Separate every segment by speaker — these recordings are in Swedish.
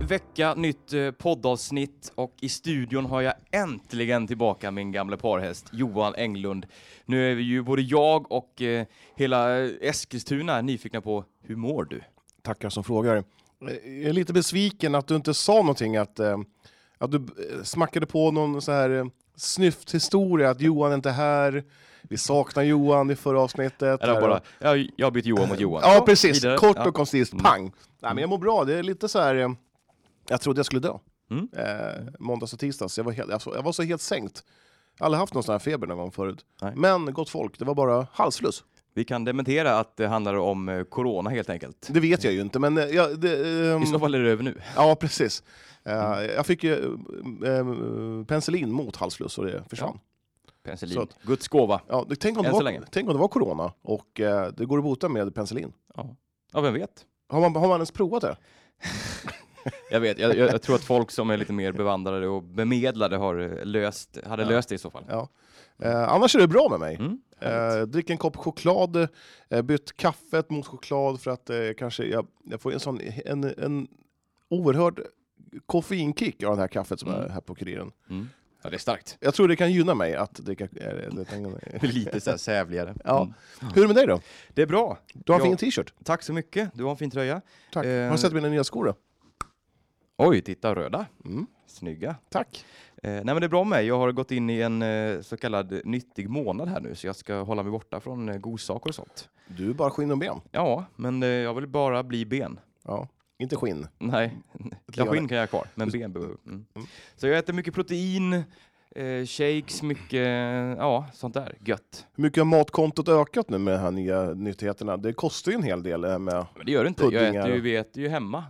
Speaker 1: vecka, nytt eh, poddavsnitt och i studion har jag äntligen tillbaka min gamle parhäst Johan Englund. Nu är vi ju både jag och eh, hela Eskilstuna nyfikna på hur mår du?
Speaker 2: Tackar som frågar. Eh, Jag är lite besviken att du inte sa någonting, att, eh, att du eh, smackade på någon så här eh, snyfthistoria, att Johan är inte är här, vi saknar Johan i förra avsnittet.
Speaker 1: Eller
Speaker 2: här
Speaker 1: bara,
Speaker 2: och-
Speaker 1: jag, jag har bytt Johan mot Johan.
Speaker 2: Ja, precis.
Speaker 1: Vidare.
Speaker 2: Kort
Speaker 1: Ja. Mm.
Speaker 2: och koncist, pang! Nej, men jag mår bra, det är lite så här... eh, Jag trodde jag skulle dö.
Speaker 1: Mm.
Speaker 2: Eh, måndags och tisdags, jag var, helt, alltså, jag var så helt sänkt. Jag har aldrig haft någon sån här feber någon gång förut.
Speaker 1: Nej.
Speaker 2: Men gott folk, det var bara halsfluss.
Speaker 1: Vi kan dementera att det handlar om eh, corona helt enkelt.
Speaker 2: Det vet jag ju inte, men... eh, Jag, det, ehm,
Speaker 1: I så fall är det över nu.
Speaker 2: Ja, precis. Eh, jag fick ju eh, eh, penicillin mot halsfluss och det försvann. Så
Speaker 1: Penicillin.
Speaker 2: att-
Speaker 1: Guds gåva.
Speaker 2: Ja. det- tänk, om det
Speaker 1: Än så
Speaker 2: var,
Speaker 1: länge.
Speaker 2: tänk om det var corona och eh, det går att bota med penicillin.
Speaker 1: Ja, vem vet?
Speaker 2: Har man, har man ens provat det?
Speaker 1: Jag vet, jag, jag, jag tror att folk som är lite mer bevandrade och bemedlade har eh, löst, hade
Speaker 2: Ja.
Speaker 1: löst det i så fall.
Speaker 2: Ja. Eh, annars är det bra med mig.
Speaker 1: Mm,
Speaker 2: Eh, drick en kopp choklad, eh, bytt kaffet mot choklad för att eh, kanske jag, jag får en sån en, en oerhörd koffeinkick av det här kaffet som
Speaker 1: Mm.
Speaker 2: är här på kuriren.
Speaker 1: mm. Ja, det är starkt.
Speaker 2: Jag tror det kan gynna mig att dricka... eh, det-
Speaker 1: Lite så här sävligare.
Speaker 2: Ja.
Speaker 1: Mm.
Speaker 2: Hur är det med dig då?
Speaker 1: Det är bra.
Speaker 2: Du har en
Speaker 1: Ja.
Speaker 2: fin t-shirt.
Speaker 1: Tack så mycket. Du har en fin tröja.
Speaker 2: Tack.
Speaker 1: Eh.
Speaker 2: Har du sett mina nya skor då?
Speaker 1: Oj, titta röda.
Speaker 2: Mm.
Speaker 1: Snygga.
Speaker 2: Tack.
Speaker 1: Eh, nej men det är bra med mig. Jag har gått in i en eh, så kallad nyttig månad här nu så jag ska hålla mig borta från eh, godsaker och sånt.
Speaker 2: Du är bara skinn och ben.
Speaker 1: Ja, men eh, jag vill bara bli ben.
Speaker 2: Ja. Inte skinn.
Speaker 1: Nej, ja, skinn kan jag ha kvar, men ben behöver mm. Så jag äter mycket protein, eh, shakes, mycket ja, sånt där gött.
Speaker 2: Hur mycket har matkontot ökat nu med de här nya nyttigheterna? Det kostar ju en hel del. eh, Med...
Speaker 1: Men det gör det inte. Jag
Speaker 2: Puddingar
Speaker 1: äter ju,
Speaker 2: och-
Speaker 1: vi äter ju hemma.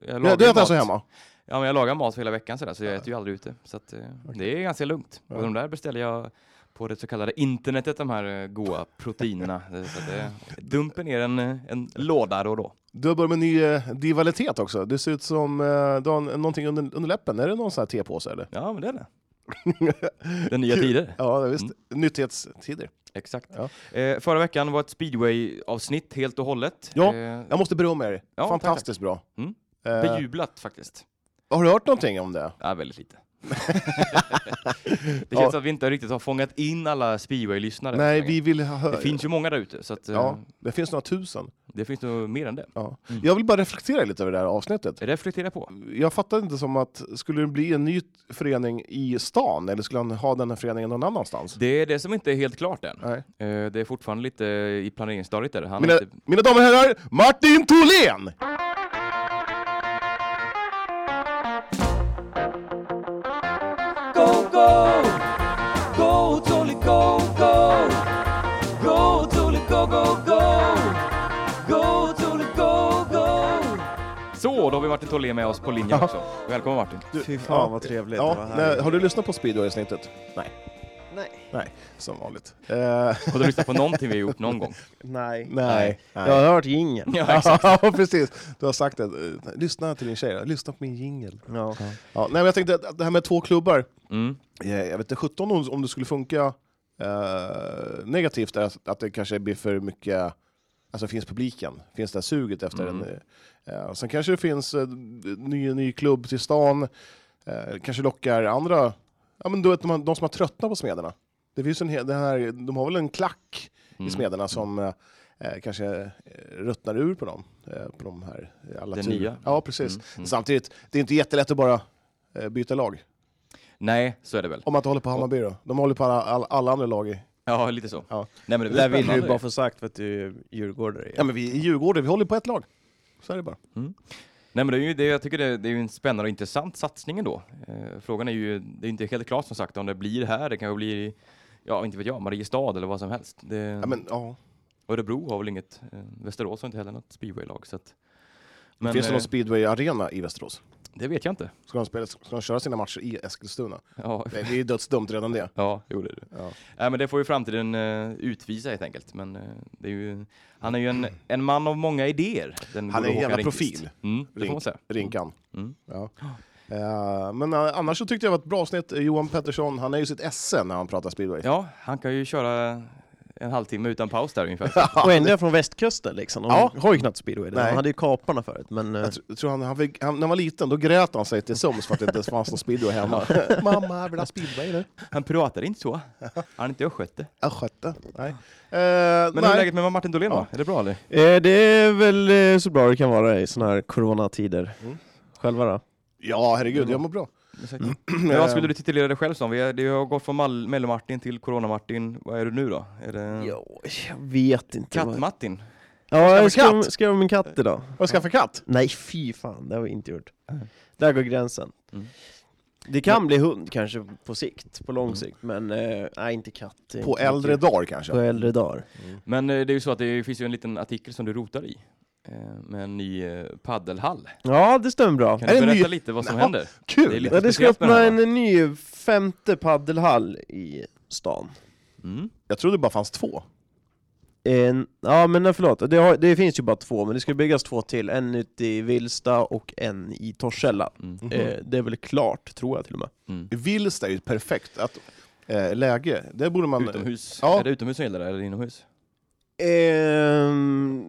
Speaker 1: Jag
Speaker 2: Du
Speaker 1: lagar ju
Speaker 2: äter
Speaker 1: mat.
Speaker 2: alltså hemma?
Speaker 1: Ja, men jag lagar mat hela veckan sådär, så jag äter ju aldrig ute. Så att, eh, det är ganska lugnt.
Speaker 2: Ja.
Speaker 1: Och de där beställer jag på det så kallade internetet, de här eh, goa proteinerna. Eh, så att, eh, jag dumper ner en, eh, en låda då och då.
Speaker 2: Du har börjat med ny eh, divalitet också. Det ser ut som eh, du har en- någonting under, under läppen. Är det någon sån här tepåse eller?
Speaker 1: Ja, men det är det. Det är nya tider.
Speaker 2: Ja, visst.
Speaker 1: Mm.
Speaker 2: Nyttighetstider.
Speaker 1: Exakt.
Speaker 2: Ja.
Speaker 1: Eh, förra veckan var ett speedway-avsnitt helt och hållet.
Speaker 2: Ja.
Speaker 1: Eh,
Speaker 2: Jag måste berömma er.
Speaker 1: Ja,
Speaker 2: Fantastiskt bra.
Speaker 1: Mm.
Speaker 2: Eh,
Speaker 1: Bejublat faktiskt.
Speaker 2: har du hört någonting om det?
Speaker 1: Ja, väldigt lite. det
Speaker 2: Ja.
Speaker 1: känns att vi inte riktigt har fångat in alla speedway-lyssnare.
Speaker 2: Nej,
Speaker 1: än så länge.
Speaker 2: vi vill höra.
Speaker 1: Det finns ju många där ute, så att, eh,
Speaker 2: Ja, det finns några tusen.
Speaker 1: det finns nog mer än det.
Speaker 2: Ja. Jag vill bara reflektera lite över det här avsnittet.
Speaker 1: Reflektera på.
Speaker 2: Jag fattar inte som att, skulle det bli en ny förening i stan eller skulle han ha den här föreningen någon annanstans?
Speaker 1: Det är det som inte är helt klart än.
Speaker 2: Nej.
Speaker 1: Eh, Det är fortfarande lite i planeringsstadiet där. Han har
Speaker 2: Mina,
Speaker 1: inte...
Speaker 2: mina damer och herrar, Martin Tholén!
Speaker 3: go go go Tolly go go go Tolly go go go go Tolly go go
Speaker 1: Så, då har vi Martin Tholén med oss på linjen också. Välkommen Martin.
Speaker 4: Fy fan vad trevligt det
Speaker 2: Ja,
Speaker 4: var här.
Speaker 2: nej, har du lyssnat på Speedway-avsnittet? Nej.
Speaker 4: Nej.
Speaker 2: Nej, som vanligt. Eh,
Speaker 1: Har du lyssnat på någonting vi har gjort någon gång?
Speaker 4: Nej.
Speaker 2: nej.
Speaker 4: Jag har hört ingen.
Speaker 1: Ja, exakt.
Speaker 2: Ja, precis. Du har sagt det. Eh, Lyssna till din tjej då. lyssna på min jingel.
Speaker 4: Ja.
Speaker 2: Ja, nej, men jag tänkte att- att det här med två klubbar,
Speaker 1: Mm.
Speaker 2: eh, jag vet inte 17 om, om det skulle funka eh, negativt, är att, att det kanske blir för mycket, alltså finns publiken, finns det här suget efter
Speaker 1: Mm.
Speaker 2: en... Eh, sen kanske det finns eh, ny, ny klubb till stan, eh, kanske lockar andra, ja men du vet de, de som har tröttnat på Smederna. Det finns en hel, det här, de har väl en klack
Speaker 1: Mm.
Speaker 2: i Smederna som eh, eh, kanske eh, ruttnar ur på dem. Eh, på de här, eh, alla
Speaker 1: Det
Speaker 2: turer.
Speaker 1: nya.
Speaker 2: Ja, precis.
Speaker 1: Mm, mm.
Speaker 2: Samtidigt, det är inte jättelätt att bara eh, byta lag.
Speaker 1: Nej, så är det väl.
Speaker 2: Om man inte håller på Hammarby då. De håller på alla, alla, alla andra lag. I.
Speaker 1: Ja, lite så.
Speaker 2: Ja.
Speaker 1: Nej, men det
Speaker 4: Det
Speaker 1: är
Speaker 4: där
Speaker 1: väl
Speaker 4: vill du
Speaker 1: spännande.
Speaker 4: bara få sagt för att du är djurgårdare.
Speaker 2: Ja, men vi i Djurgården, vi håller på ett lag. Så är det bara.
Speaker 1: Nej, men det är ju, det, jag tycker det, det är ju en spännande och intressant satsning ändå. Eh, frågan är ju, det är inte helt klart som sagt om det blir här, det kan ju bli i, ja inte vet jag, Mariestad eller vad som helst. Det,
Speaker 2: Ja, men, ja.
Speaker 1: Örebro har väl inget, eh, Västerås har inte heller något speedwaylag. Så att, men
Speaker 2: Finns det någon
Speaker 1: eh,
Speaker 2: speedway-arena i Västerås?
Speaker 1: det vet jag inte.
Speaker 2: Ska de, spela, ska de köra sina matcher i Eskilstuna?
Speaker 1: Ja,
Speaker 2: Det, det är ju dödsdumt redan det.
Speaker 1: ja jo det är det.
Speaker 2: Ja.
Speaker 1: Nej, men det får ju framtiden eh, utvisa helt enkelt. Men eh, det är ju, han är ju en, en man av många idéer. Den
Speaker 2: Han är
Speaker 1: gode
Speaker 2: en
Speaker 1: Håkan
Speaker 2: jävla
Speaker 1: Lindqvist.
Speaker 2: profil.
Speaker 1: Mm, det får man
Speaker 2: Rink,
Speaker 1: säga.
Speaker 2: Rinkan.
Speaker 1: Mm.
Speaker 2: Ja. Eh, men eh, annars så tyckte jag det var ett bra avsnitt. Eh, Johan Pettersson, han är ju sitt esse när han pratar speedway.
Speaker 1: Ja, han kan ju köra en halvtimme utan paus där ungefär.
Speaker 4: Och ändå är jag från västkusten liksom. De
Speaker 2: Ja.
Speaker 4: har ju knappt speedway. där.
Speaker 2: Nej.
Speaker 4: De hade ju kaparna förut, men... eh,
Speaker 2: Jag tr- jag tror han, han, fick, han, när han var liten, då grät han sig till sömns för att det inte fanns någon speedway hemma. Mamma, jag vill ha speedway nu.
Speaker 1: Han pratade inte så. Han inte östgöte.
Speaker 2: Östgöte. Nej. Eh,
Speaker 1: Men hur är
Speaker 2: nej.
Speaker 1: läget med Martin Dolén då?
Speaker 2: Ja.
Speaker 1: Är det bra eller?
Speaker 4: Eh, det är väl eh, så bra det kan vara i såna här coronatider.
Speaker 2: Mm.
Speaker 4: Själva då?
Speaker 2: Ja, herregud, jag mår bra. Mm.
Speaker 1: Men
Speaker 2: Eh.
Speaker 1: vad skulle du titulera dig själv som? Vi är, det har gått från Mal- Mello-Martin till Corona-Martin. Vad är du nu då? Är det
Speaker 4: Jo, jag vet inte. vad-
Speaker 1: Katt-Martin?
Speaker 4: Ja, jag
Speaker 2: Skaffa
Speaker 4: skrev,
Speaker 2: katt?
Speaker 4: skrev om min katt idag.
Speaker 2: Har du skaffat katt?
Speaker 4: Nej, fy fan, det har vi inte gjort.
Speaker 1: Nej.
Speaker 4: Där går gränsen.
Speaker 1: Mm.
Speaker 4: Det kan bli hund kanske på sikt, på lång
Speaker 1: Mm.
Speaker 4: sikt, men eh, nej, inte katt. inte
Speaker 2: På
Speaker 4: mycket.
Speaker 2: äldre dagar
Speaker 4: På
Speaker 2: kanske?
Speaker 4: äldre dagar.
Speaker 1: Men eh, det är ju så att det finns ju en liten artikel som du rotar i. eh, Med en ny eh, paddelhall.
Speaker 4: Ja, det stämmer bra.
Speaker 1: Kan
Speaker 2: Är
Speaker 1: du
Speaker 2: det en
Speaker 1: berätta
Speaker 2: ny-
Speaker 1: lite vad som
Speaker 2: Nå,
Speaker 1: händer? Det är
Speaker 2: Kul!
Speaker 1: lite-
Speaker 4: Ja, det ska
Speaker 1: speciellt med
Speaker 4: öppna
Speaker 1: den
Speaker 4: en ny femte paddelhall i stan.
Speaker 1: Mm.
Speaker 2: Jag trodde det bara fanns två.
Speaker 4: En, ja men nej, förlåt, det, har, det finns ju bara två, men det ska byggas två till. En ute i Vilsta och en i Torshälla.
Speaker 1: Mm.
Speaker 4: Eh, det är väl klart, tror jag till och med.
Speaker 1: Mm.
Speaker 2: Vilsta är ju ett perfekt att, eh, läge. Det borde man...
Speaker 1: Utomhus?
Speaker 2: Ja.
Speaker 1: Är det utomhus som gäller det, eller inomhus?
Speaker 4: Ehm,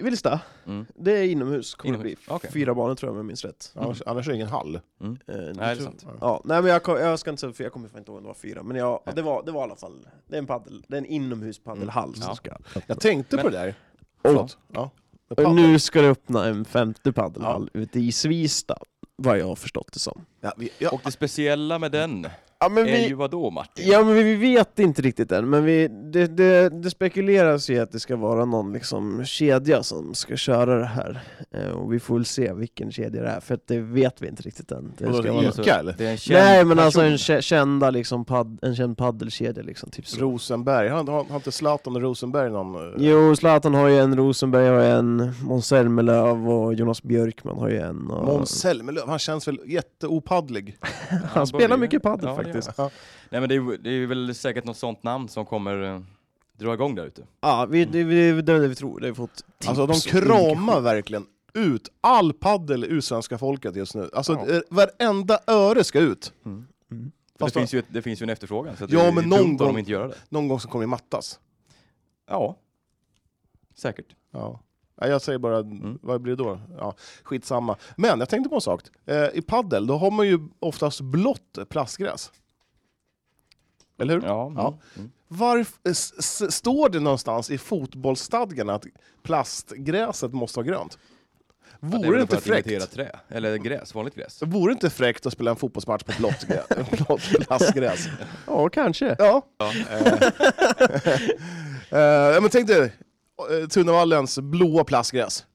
Speaker 4: Vilsta,
Speaker 1: Mm.
Speaker 4: det är inomhus, kommer det
Speaker 1: Inomhus,
Speaker 4: bli.
Speaker 1: okej.
Speaker 4: Fyra banor tror jag om jag minns rätt.
Speaker 2: Annars, annars är det ingen hall.
Speaker 1: Mm.
Speaker 4: Eh,
Speaker 1: det är
Speaker 4: tror-
Speaker 1: sant.
Speaker 4: Ja, nej men jag, kom, jag ska inte säga, för jag kommer fan inte ihåg om det var fyra, men jag,
Speaker 1: Nej. Mm.
Speaker 4: det, var, det var i alla fall, det är en paddel, det är en inomhuspaddelhall som
Speaker 1: Ja.
Speaker 4: ska
Speaker 2: Jag tänkte på
Speaker 1: Men-
Speaker 2: det där.
Speaker 4: Och,
Speaker 2: Förlåt. Ja.
Speaker 4: och nu ska det öppna en femte paddelhall ute i Svista, vad jag har förstått det som.
Speaker 2: Ja, vi, ja,
Speaker 1: Och det speciella med den
Speaker 4: Ja men
Speaker 1: är
Speaker 4: vi,
Speaker 1: ju vadå Martin?
Speaker 4: ja, men vi- vi vet inte riktigt än, men vi, det, det, det spekuleras ju att det ska vara någon liksom kedja som ska köra det här. Eh, och vi får väl se vilken kedja det är, för att det vet vi inte riktigt än. Det
Speaker 2: Vadå,
Speaker 4: ska
Speaker 2: det
Speaker 4: vara
Speaker 2: är-
Speaker 4: någon-
Speaker 1: Alltså,
Speaker 2: Ica, eller?
Speaker 1: Det är en känd
Speaker 4: Nej men alltså en,
Speaker 1: person.
Speaker 4: kä- kända liksom pad, en känd paddelkedja liksom, typ så.
Speaker 2: Rosenberg. Har, har, har inte Zlatan och Rosenberg någon... eh,
Speaker 4: Jo, Zlatan har ju en, Rosenberg har en, Måns Zelmerlöw och Jonas Björkman har ju en. Och...
Speaker 2: Måns Zelmerlöw, han känns väl jätteopaddlig.
Speaker 4: Han spelar
Speaker 1: börjar.
Speaker 4: mycket padel
Speaker 1: Ja, det gör
Speaker 4: faktiskt.
Speaker 2: Ja.
Speaker 1: Nej men det är, ju- det är väl säkert något sånt namn som kommer eh, dra igång där ute.
Speaker 4: Ja, vi, det, vi, det är det vi tror. Det har vi fått
Speaker 1: Typ
Speaker 4: tips
Speaker 2: Alltså de
Speaker 4: och indikationer.
Speaker 2: kramar verkligen ut all paddel ur svenska folket just nu. Alltså
Speaker 4: Ja.
Speaker 2: det- varenda öre ska ut.
Speaker 1: För
Speaker 2: Fast
Speaker 1: det,
Speaker 2: då-
Speaker 1: finns ju ett, det finns ju en efterfrågan så att
Speaker 2: Ja,
Speaker 1: det är
Speaker 2: men
Speaker 1: dumt
Speaker 2: någon
Speaker 1: om de
Speaker 2: gång-
Speaker 1: inte gör det.
Speaker 2: Någon gång så kommer det mattas.
Speaker 1: Ja, säkert.
Speaker 2: Ja. Nej, Jag säger bara,
Speaker 1: Mm.
Speaker 2: vad blir det då? Ja, skitsamma. Men jag tänkte på en sak. Eh, I paddel då har man ju oftast blått plastgräs. Eller hur?
Speaker 1: Ja, men-
Speaker 2: Ja.
Speaker 1: Mm.
Speaker 2: Varf- s- s- står det någonstans i fotbollsstadgarna att plastgräset måste vara grönt?
Speaker 1: Ja,
Speaker 2: Vore
Speaker 1: det
Speaker 2: det
Speaker 1: är
Speaker 2: inte
Speaker 1: inte för att imitera
Speaker 2: fräckt?
Speaker 1: trä, eller gräs, vanligt gräs.
Speaker 2: Vore det inte fräckt att spela en fotbollsmatch på blått, grä- blått plastgräs?
Speaker 4: Ja, kanske.
Speaker 2: Ja. Eh, eh, men tänk dig eh, Tunnavallens blåa plastgräs.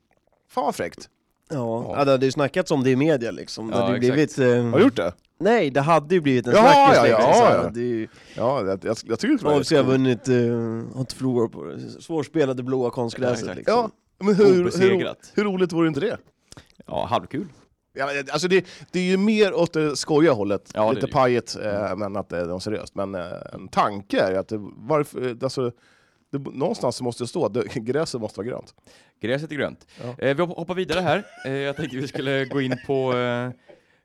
Speaker 2: Fan vad fräckt.
Speaker 4: Ja. ja, det hade ju snackats om det i media liksom. Det
Speaker 1: Ja,
Speaker 4: hade ju
Speaker 1: exakt.
Speaker 4: blivit... Eh...
Speaker 2: Har du gjort det?
Speaker 4: Nej, det hade ju blivit en
Speaker 2: Jaha,
Speaker 4: snackis
Speaker 2: ja, ja,
Speaker 4: liksom.
Speaker 2: ja,
Speaker 4: Så
Speaker 2: ja.
Speaker 4: hade ju...
Speaker 2: Ja, jag, jag, jag tycker det var
Speaker 4: AFC har vunnit, eh, har inte förlorat på det. Svårspelade blåa konstgräset
Speaker 1: exakt.
Speaker 4: liksom.
Speaker 2: Ja, men hur, hur,
Speaker 1: Obesegrat.
Speaker 2: hur roligt vore inte det?
Speaker 1: Ja, halvkul.
Speaker 2: Ja, men, alltså det, det är ju mer åt det skojiga hållet,
Speaker 1: Ja, det är
Speaker 2: lite
Speaker 1: det.
Speaker 2: pajigt, eh, men att det är seriöst. Men eh, en tanke är ju att det, varför, eh, alltså, det, någonstans så måste det stå att det, gräset måste vara grönt.
Speaker 1: Gräset är grönt.
Speaker 2: Ja.
Speaker 1: Eh, vi hop- hoppar vidare här. Eh, jag tänkte vi skulle gå in på eh,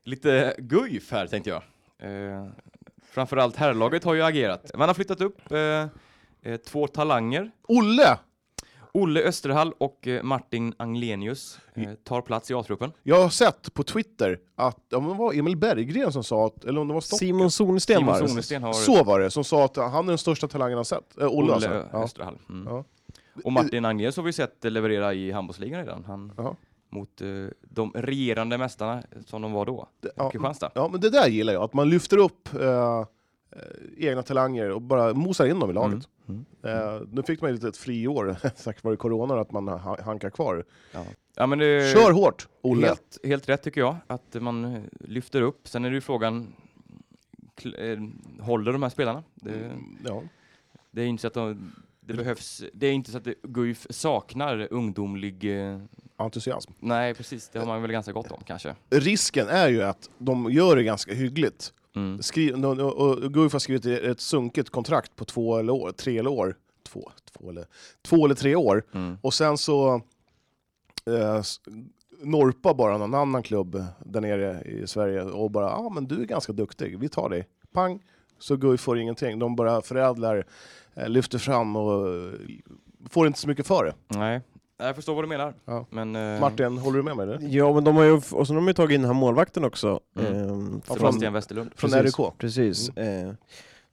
Speaker 1: lite Guif här, tänkte jag. Eh, framförallt herrlaget har ju agerat. Man har flyttat upp eh, eh, två talanger.
Speaker 2: Olle!
Speaker 1: Olle Österhall och eh, Martin Anglenius eh, tar plats i A-truppen.
Speaker 2: Jag har sett på Twitter att, om det var Emil Berggren som sa, att, eller om det var Stock,
Speaker 4: Simon Solsten
Speaker 1: Simon
Speaker 4: var det.
Speaker 1: Sonesten har
Speaker 2: så var det, som sa att han är den största talangen han sett. Eh, Olle,
Speaker 1: Olle
Speaker 2: alltså. Ja.
Speaker 1: Österhall. Mm.
Speaker 2: Ja.
Speaker 1: Och Martin Anglenius har vi sett leverera i handbollsligan redan. Han,
Speaker 2: Jaha.
Speaker 1: mot eh, de regerande mästarna som de var då,
Speaker 2: Det- ja.
Speaker 1: Kristianstad.
Speaker 2: Ja, men det där gillar jag, att man lyfter upp eh, eh, egna talanger och bara mosar in dem i laget.
Speaker 1: Mm.
Speaker 2: Eh, nu fick man ju lite ett friår tack vare corona, att man ha- hankar kvar.
Speaker 1: Ja, men det,
Speaker 2: Kör hårt, Olle!
Speaker 1: Eh, Helt, helt rätt tycker jag, att man eh, lyfter upp. Sen är det ju frågan, kl- eh, håller de här spelarna? Det,
Speaker 2: Mm, Ja.
Speaker 1: det är inte så att de, det behövs, det är inte så att det- Guif saknar ungdomlig, eh,
Speaker 2: Entusiasm.
Speaker 1: nej precis, det har man väl ganska gott om kanske.
Speaker 2: Risken är ju att de gör det ganska hyggligt.
Speaker 1: Mm.
Speaker 2: Skri- och- och- och Guif har skrivit ett sunkigt kontrakt på två eller år, tre eller år. Två, två, eller, två eller tre år.
Speaker 1: Mm.
Speaker 2: Och sen så eh, s- norpa bara någon annan klubb där nere i Sverige och bara ja ah, men du är ganska duktig, vi tar dig. Pang! så Guif får ingenting. De bara förädlar, eh, lyfter fram och eh, får inte så mycket för det.
Speaker 1: Nej, jag förstår vad du menar.
Speaker 2: Ja.
Speaker 1: Men, eh,
Speaker 2: Martin, håller du med mig? Eller?
Speaker 4: Ja, men de har ju, och sen har de ju tagit in den här målvakten också.
Speaker 1: Mm.
Speaker 4: ehm,
Speaker 2: Ja,
Speaker 4: från-
Speaker 1: Sebastian Westerlund.
Speaker 2: Från
Speaker 4: Precis.
Speaker 2: RIK.
Speaker 4: Precis.
Speaker 2: Mm.
Speaker 4: Eh,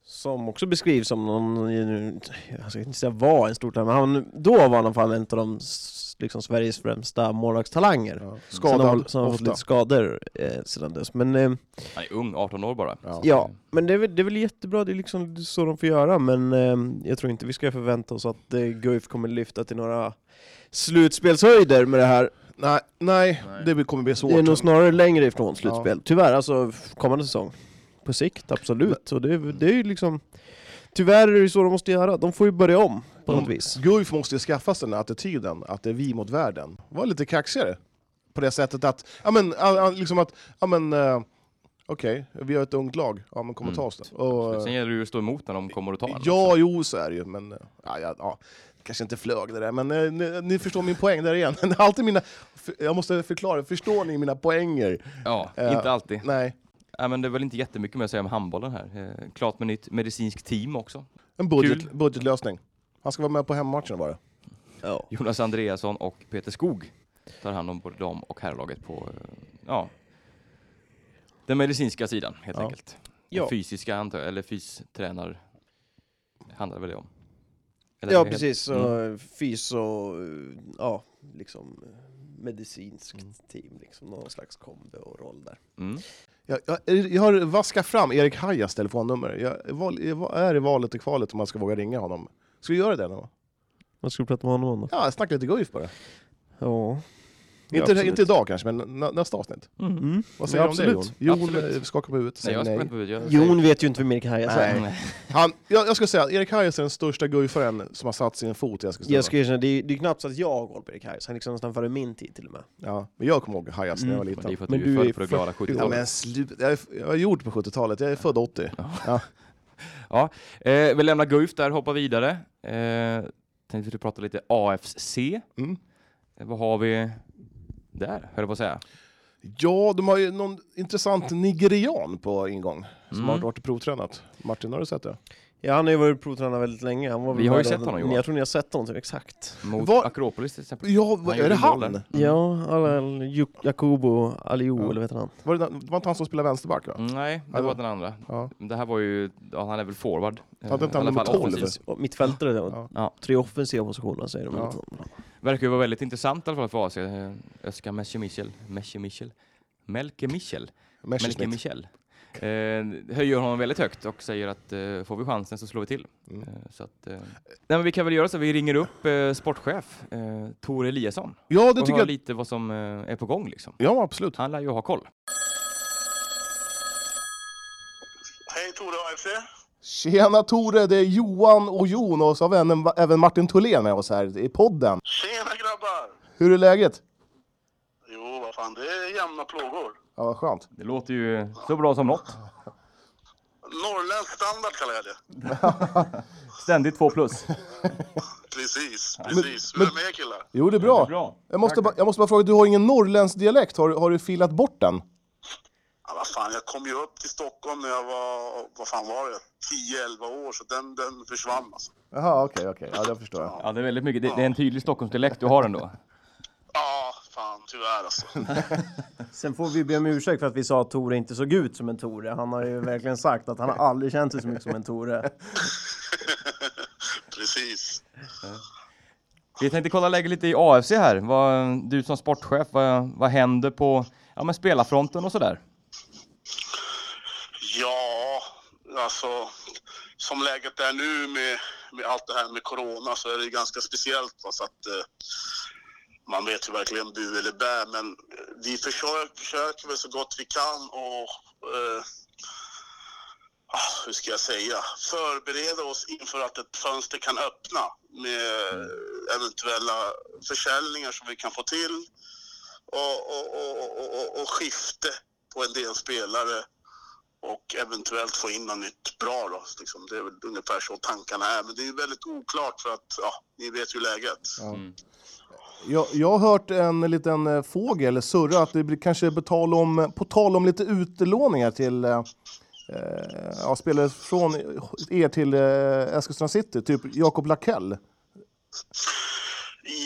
Speaker 4: som också beskrivs som någon, jag ska inte säga var en stor talang, men han, då var han i alla fall en av de s- liksom, Sveriges främsta målvaktstalanger.
Speaker 2: Ja.
Speaker 4: Sen har,
Speaker 2: Skadad
Speaker 4: sen har han fått
Speaker 2: ofta.
Speaker 4: lite skador eh, sedan dess. Men, eh,
Speaker 1: Han är ung, 18 år bara.
Speaker 2: Ja.
Speaker 4: ja, men det, är, väl- det är väl jättebra, det är liksom så de får göra. Men eh, jag tror inte vi ska förvänta oss att eh, Guif kommer lyfta till några slutspelshöjder med det här.
Speaker 2: Nej, nej,
Speaker 1: Nej.
Speaker 2: det kommer bli svårt.
Speaker 4: Det är nog snarare längre ifrån slutspel. Tyvärr, alltså f- kommande säsong. På sikt, absolut. Och det, det är ju liksom... Tyvärr är det ju så de måste göra. De får ju börja om på något vis.
Speaker 2: Guif måste ju skaffa sig den här attityden att det är vi mot världen. Var lite kaxigare. På det sättet att, ja men, ja, ja, liksom att, ja men, eh, okej, vi har ett ungt lag, ja men kom och ta oss då.
Speaker 1: Men
Speaker 2: Och,
Speaker 1: Sen
Speaker 2: eh,
Speaker 1: gäller det ju att stå emot när de kommer och tar den.
Speaker 2: ja, jo så är det ju, men, eh, ja, ja, ja, kanske inte flög det där, men eh, ni, ni förstår min poäng där igen. Alltid mina, för- jag måste förklara, förstår ni mina poänger?
Speaker 1: Ja,
Speaker 2: Eh,
Speaker 1: inte alltid.
Speaker 2: Nej,
Speaker 1: Nej, men det är väl inte jättemycket mer att säga om handbollen här. Eh, klart med nytt medicinskt team också.
Speaker 2: en budget, budgetlösning. Han ska vara med på hemmamatchen bara.
Speaker 4: Ja.
Speaker 1: Jonas Andreasson och Peter Skog tar hand om både dam och herrlaget på eh, ja, den medicinska sidan helt
Speaker 2: Ja.
Speaker 1: enkelt.
Speaker 4: Ja.
Speaker 1: Den fysiska antar jag, eller fystränar handlar väl det om? Eller
Speaker 4: Ja
Speaker 1: är det helt-
Speaker 4: precis,
Speaker 1: Mm.
Speaker 4: så fys och eh, ja, liksom eh, medicinskt team, liksom, någon slags kombo och roll där.
Speaker 1: Mm.
Speaker 2: Jag, jag, jag har vaskat fram Erik Hajas telefonnummer. Jag, val, jag är i valet och kvalet om man ska våga ringa honom. Ska vi göra det då?
Speaker 4: Vad ska du prata med honom om då?
Speaker 2: Ja, snacka lite Guif bara.
Speaker 4: Ja.
Speaker 2: inte, inte idag kanske, men nä, nästa avsnitt.
Speaker 4: Mm.
Speaker 2: Vad säger du
Speaker 4: Ja,
Speaker 2: om det Jon?
Speaker 4: absolut.
Speaker 2: Jon
Speaker 1: Absolut.
Speaker 2: eh, skakar på huvudet och
Speaker 1: Nej,
Speaker 2: säger
Speaker 1: jag
Speaker 2: nej.
Speaker 1: ska på video.
Speaker 4: Jon vet ju inte vem Erik Hajas är.
Speaker 1: Nej.
Speaker 2: Han, jag, jag skulle säga att Erik Hajas är den största Guifaren som har satt sin fot i Eskilstuna.
Speaker 4: Jag ska erkänna, det är, det är knappt så att jag har koll på Erik Hajas, han är liksom nästan före min tid till och med.
Speaker 2: ja, men jag kommer ihåg Hajas när jag var
Speaker 1: Men det är
Speaker 2: liten.
Speaker 1: för att
Speaker 4: Men
Speaker 1: du
Speaker 4: du
Speaker 1: är
Speaker 4: är
Speaker 1: född på det glada
Speaker 4: 40 år.
Speaker 1: 70-talet.
Speaker 2: Mm. Ja, men sluta. Jag, är- jag är gjord på 70-talet, jag är född 80.
Speaker 1: Eh, vi lämnar Guif där, hoppar vidare. Eh, tänkte du prata lite AFC.
Speaker 2: Mm.
Speaker 1: Eh, vad har vi där, höll jag på att säga.
Speaker 2: Ja, de har ju någon intressant nigerian på ingång som
Speaker 1: Mm.
Speaker 2: har varit provtränat. Martin, har du sett det?
Speaker 4: Ja, han har ju varit provtränare väldigt länge. Han var väl
Speaker 1: Vi har ju
Speaker 4: med
Speaker 1: sett
Speaker 4: då-
Speaker 1: honom, Johan.
Speaker 4: Jag tror ni har sett honom, typ, exakt.
Speaker 1: Mot
Speaker 2: Var-
Speaker 1: Akropolis till exempel.
Speaker 2: Ja, vad- är
Speaker 1: gjorde
Speaker 2: det
Speaker 1: mål
Speaker 2: han?
Speaker 1: där.
Speaker 4: Ja,
Speaker 1: Mm.
Speaker 4: alla, Jakobo Aliou,
Speaker 2: Ja.
Speaker 4: eller vad heter han?
Speaker 2: Var det, den- det var inte han som spelade vänsterback va?
Speaker 1: Mm, Nej, det
Speaker 2: Alltså-
Speaker 1: var den andra.
Speaker 2: Ja.
Speaker 1: Det här var ju, ja, han är väl forward. Eh,
Speaker 2: Hade inte
Speaker 1: i
Speaker 2: han
Speaker 1: alla
Speaker 2: nummer
Speaker 1: fall
Speaker 2: 12?
Speaker 1: offensivt.
Speaker 4: Och Mittfältare,
Speaker 2: Ja.
Speaker 4: ja.
Speaker 1: Ja.
Speaker 4: tre offensiva positioner säger de.
Speaker 2: Ja.
Speaker 1: Verkar ju vara väldigt intressant i alla fall för AC. Eh, Özcan Mesche Michel. Mesche Michel. Melke Michel. Melke
Speaker 2: Messerschmitt.
Speaker 1: Michel. Eh, höjer honom väldigt högt och säger att eh, får vi chansen så slår vi till.
Speaker 2: Mm.
Speaker 1: Eh, så att, eh, nej, men vi kan väl göra så, vi ringer upp eh, sportchef eh, Tor Eliasson
Speaker 2: Ja, det
Speaker 1: och
Speaker 2: tycker
Speaker 1: hör
Speaker 2: jag.
Speaker 1: lite vad som eh, är på gång liksom.
Speaker 2: Ja, absolut.
Speaker 1: Han lär ju ha koll.
Speaker 5: Hej Tore AFC.
Speaker 2: Tjena Tore, det är Johan och Jon och så har vi även, även Martin Tholén med oss här i podden.
Speaker 5: Tjena grabbar!
Speaker 2: Hur är läget?
Speaker 5: Jo, vad fan, det är jämna plågor.
Speaker 2: Ja, vad skönt.
Speaker 1: Det låter ju så bra som något.
Speaker 5: Norrländsk standard kallar jag det.
Speaker 1: Ständigt två plus.
Speaker 5: Precis, precis. Hur är det med er killar?
Speaker 2: Jo, det är bra. Jag, måste bara, jag måste bara fråga, du har ingen norrländsk dialekt, har, du- har du filat bort den?
Speaker 5: Ja, vad fan, jag kom ju upp till Stockholm när jag var, vad fan var det, 10-11 år, så den, den försvann alltså.
Speaker 2: Jaha, okej, okej. Ja, det förstår jag.
Speaker 1: Ja, det är väldigt mycket. Det, det är en tydlig Stockholmsdialekt du har ändå.
Speaker 5: Ja, fan, tyvärr alltså.
Speaker 4: Sen får vi be om ursäkt för att vi sa att Tore inte såg ut som en Tore. Han har ju verkligen sagt att han har aldrig känt sig så mycket som en Tore.
Speaker 5: precis.
Speaker 1: Vi tänkte kolla läget lite i AFC här. Vad, du som sportchef, vad, vad händer på ja, men spelarfronten och sådär?
Speaker 5: Ja, alltså som läget är nu med, med allt det här med corona så är det ju ganska speciellt. Va? Så att, eh, man vet ju verkligen bu eller bä, men eh, vi försöker, försöker väl så gott vi kan och eh, ah, hur ska jag säga, förbereda oss inför att ett fönster kan öppna med eventuella försäljningar som vi kan få till och, och, och, och, och, och skifte på en del spelare och eventuellt få in något nytt bra då. Liksom, det är väl ungefär så tankarna är. Men det är ju väldigt oklart för att, ja, ni vet ju läget.
Speaker 2: Jag, jag har hört en liten eh, fågel surra att det blir kanske på tal om, på tal om lite utlåningar till eh, eh, ja, spelare från er till eh, Eskilstuna City, typ Jakob Lakell.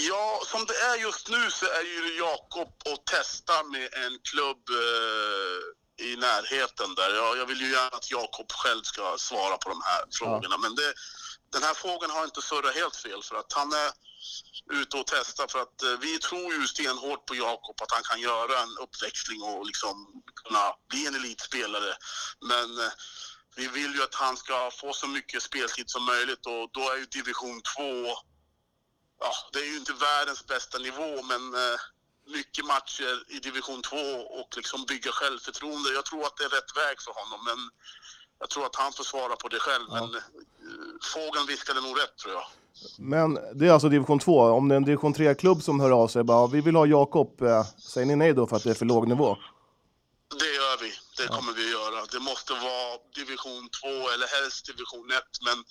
Speaker 5: Ja, som det är just nu så är ju Jakob och testa med en klubb eh, i närheten där. Jag, jag vill ju gärna att Jakob själv ska svara på de här frågorna. Men det, den här frågan har inte surrat helt fel för att han är ute och testar för att eh, vi tror ju stenhårt på Jakob att han kan göra en uppväxling och liksom kunna bli en elitspelare. Men eh, vi vill ju att han ska få så mycket speltid som möjligt och då är ju division 2 ja, det är ju inte världens bästa nivå, men eh, mycket matcher i division 2 och liksom bygga självförtroende. Jag tror att det är rätt väg för honom, men jag tror att han får svara på det själv. Men eh, fågeln viskade nog rätt, tror jag.
Speaker 2: Men det är alltså division 2. Om det är en division 3-klubb som hör av sig bara vi vill ha Jakob, eh, säger ni nej då för att det är för låg nivå?
Speaker 5: Det gör vi. Det kommer vi göra. Det måste vara division 2 eller helst division 1. Men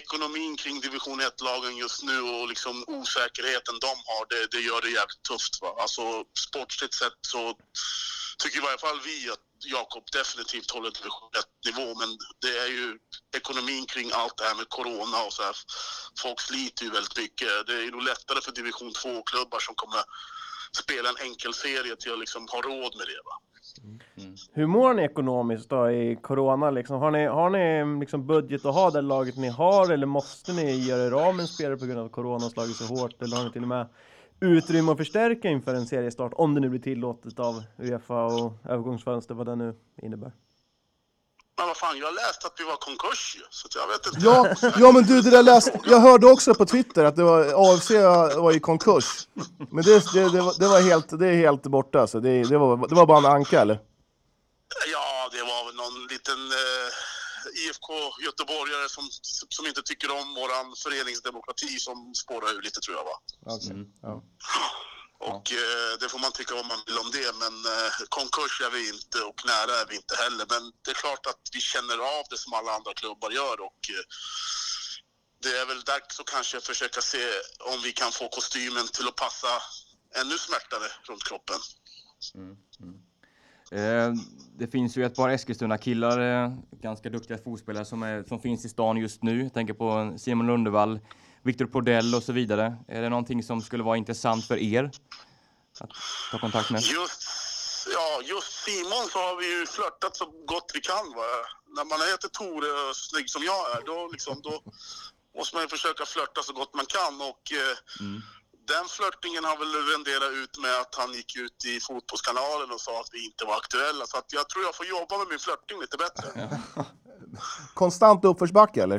Speaker 5: ekonomin kring division 1-lagen just nu och liksom osäkerheten de har, det, det gör det jävligt tufft. Va? Alltså sportsligt sett så tycker i varje fall vi att Jakob definitivt håller division 1-nivå. Men det är ju ekonomin kring allt det här med corona och så här. Folk sliter ju väldigt mycket. Det är ju nog lättare för division 2-klubbar som kommer spela en enkel serie till att liksom ha råd med det. Va?
Speaker 4: Hur mår ni ekonomiskt då i corona liksom? Har ni, har ni liksom budget att ha det laget ni har eller måste ni göra er av med en spelare på grund av att corona har slagit så hårt? Eller har ni till och med utrymme att förstärka inför en seriestart om det nu blir tillåtet av Uefa och övergångsfönster, vad det nu innebär?
Speaker 5: Men vad fan, jag läste att vi var konkurs ju, så att jag vet inte.
Speaker 2: Ja, ja men du, det där läste, jag hörde också på Twitter att det var, AFC var i konkurs. Men det, det, det, var, det var helt, det är helt borta alltså. det, det, var, det var bara en anka eller?
Speaker 5: Ja, det var väl någon liten eh, IFK-göteborgare som, som inte tycker om våran föreningsdemokrati som spårar ur lite tror jag va.
Speaker 1: Mm.
Speaker 2: Ja.
Speaker 5: Och eh, det får man tycka vad man vill om det, men eh, konkurs är vi inte och nära är vi inte heller. Men det är klart att vi känner av det som alla andra klubbar gör och eh, det är väl dags att kanske försöka se om vi kan få kostymen till att passa ännu smärtare runt kroppen.
Speaker 1: Eh, det finns ju ett par Eskilstuna-killar, eh, ganska duktiga fotbollsspelare som, är, som finns i stan just nu. Jag tänker på Simon Lundevall, Viktor Prodell och så vidare. Är det någonting som skulle vara intressant för er att ta kontakt med?
Speaker 5: Just, ja, just Simon så har vi ju flörtat så gott vi kan. Va? När man heter Tore och snygg som jag är, då, liksom, då måste man ju försöka flörta så gott man kan. Och, eh, Den flörtningen har väl renderat ut med att han gick ut i Fotbollskanalen och sa att vi inte var aktuella. Så att jag tror jag får jobba med min flörtning lite bättre.
Speaker 2: Konstant uppförsbacke eller?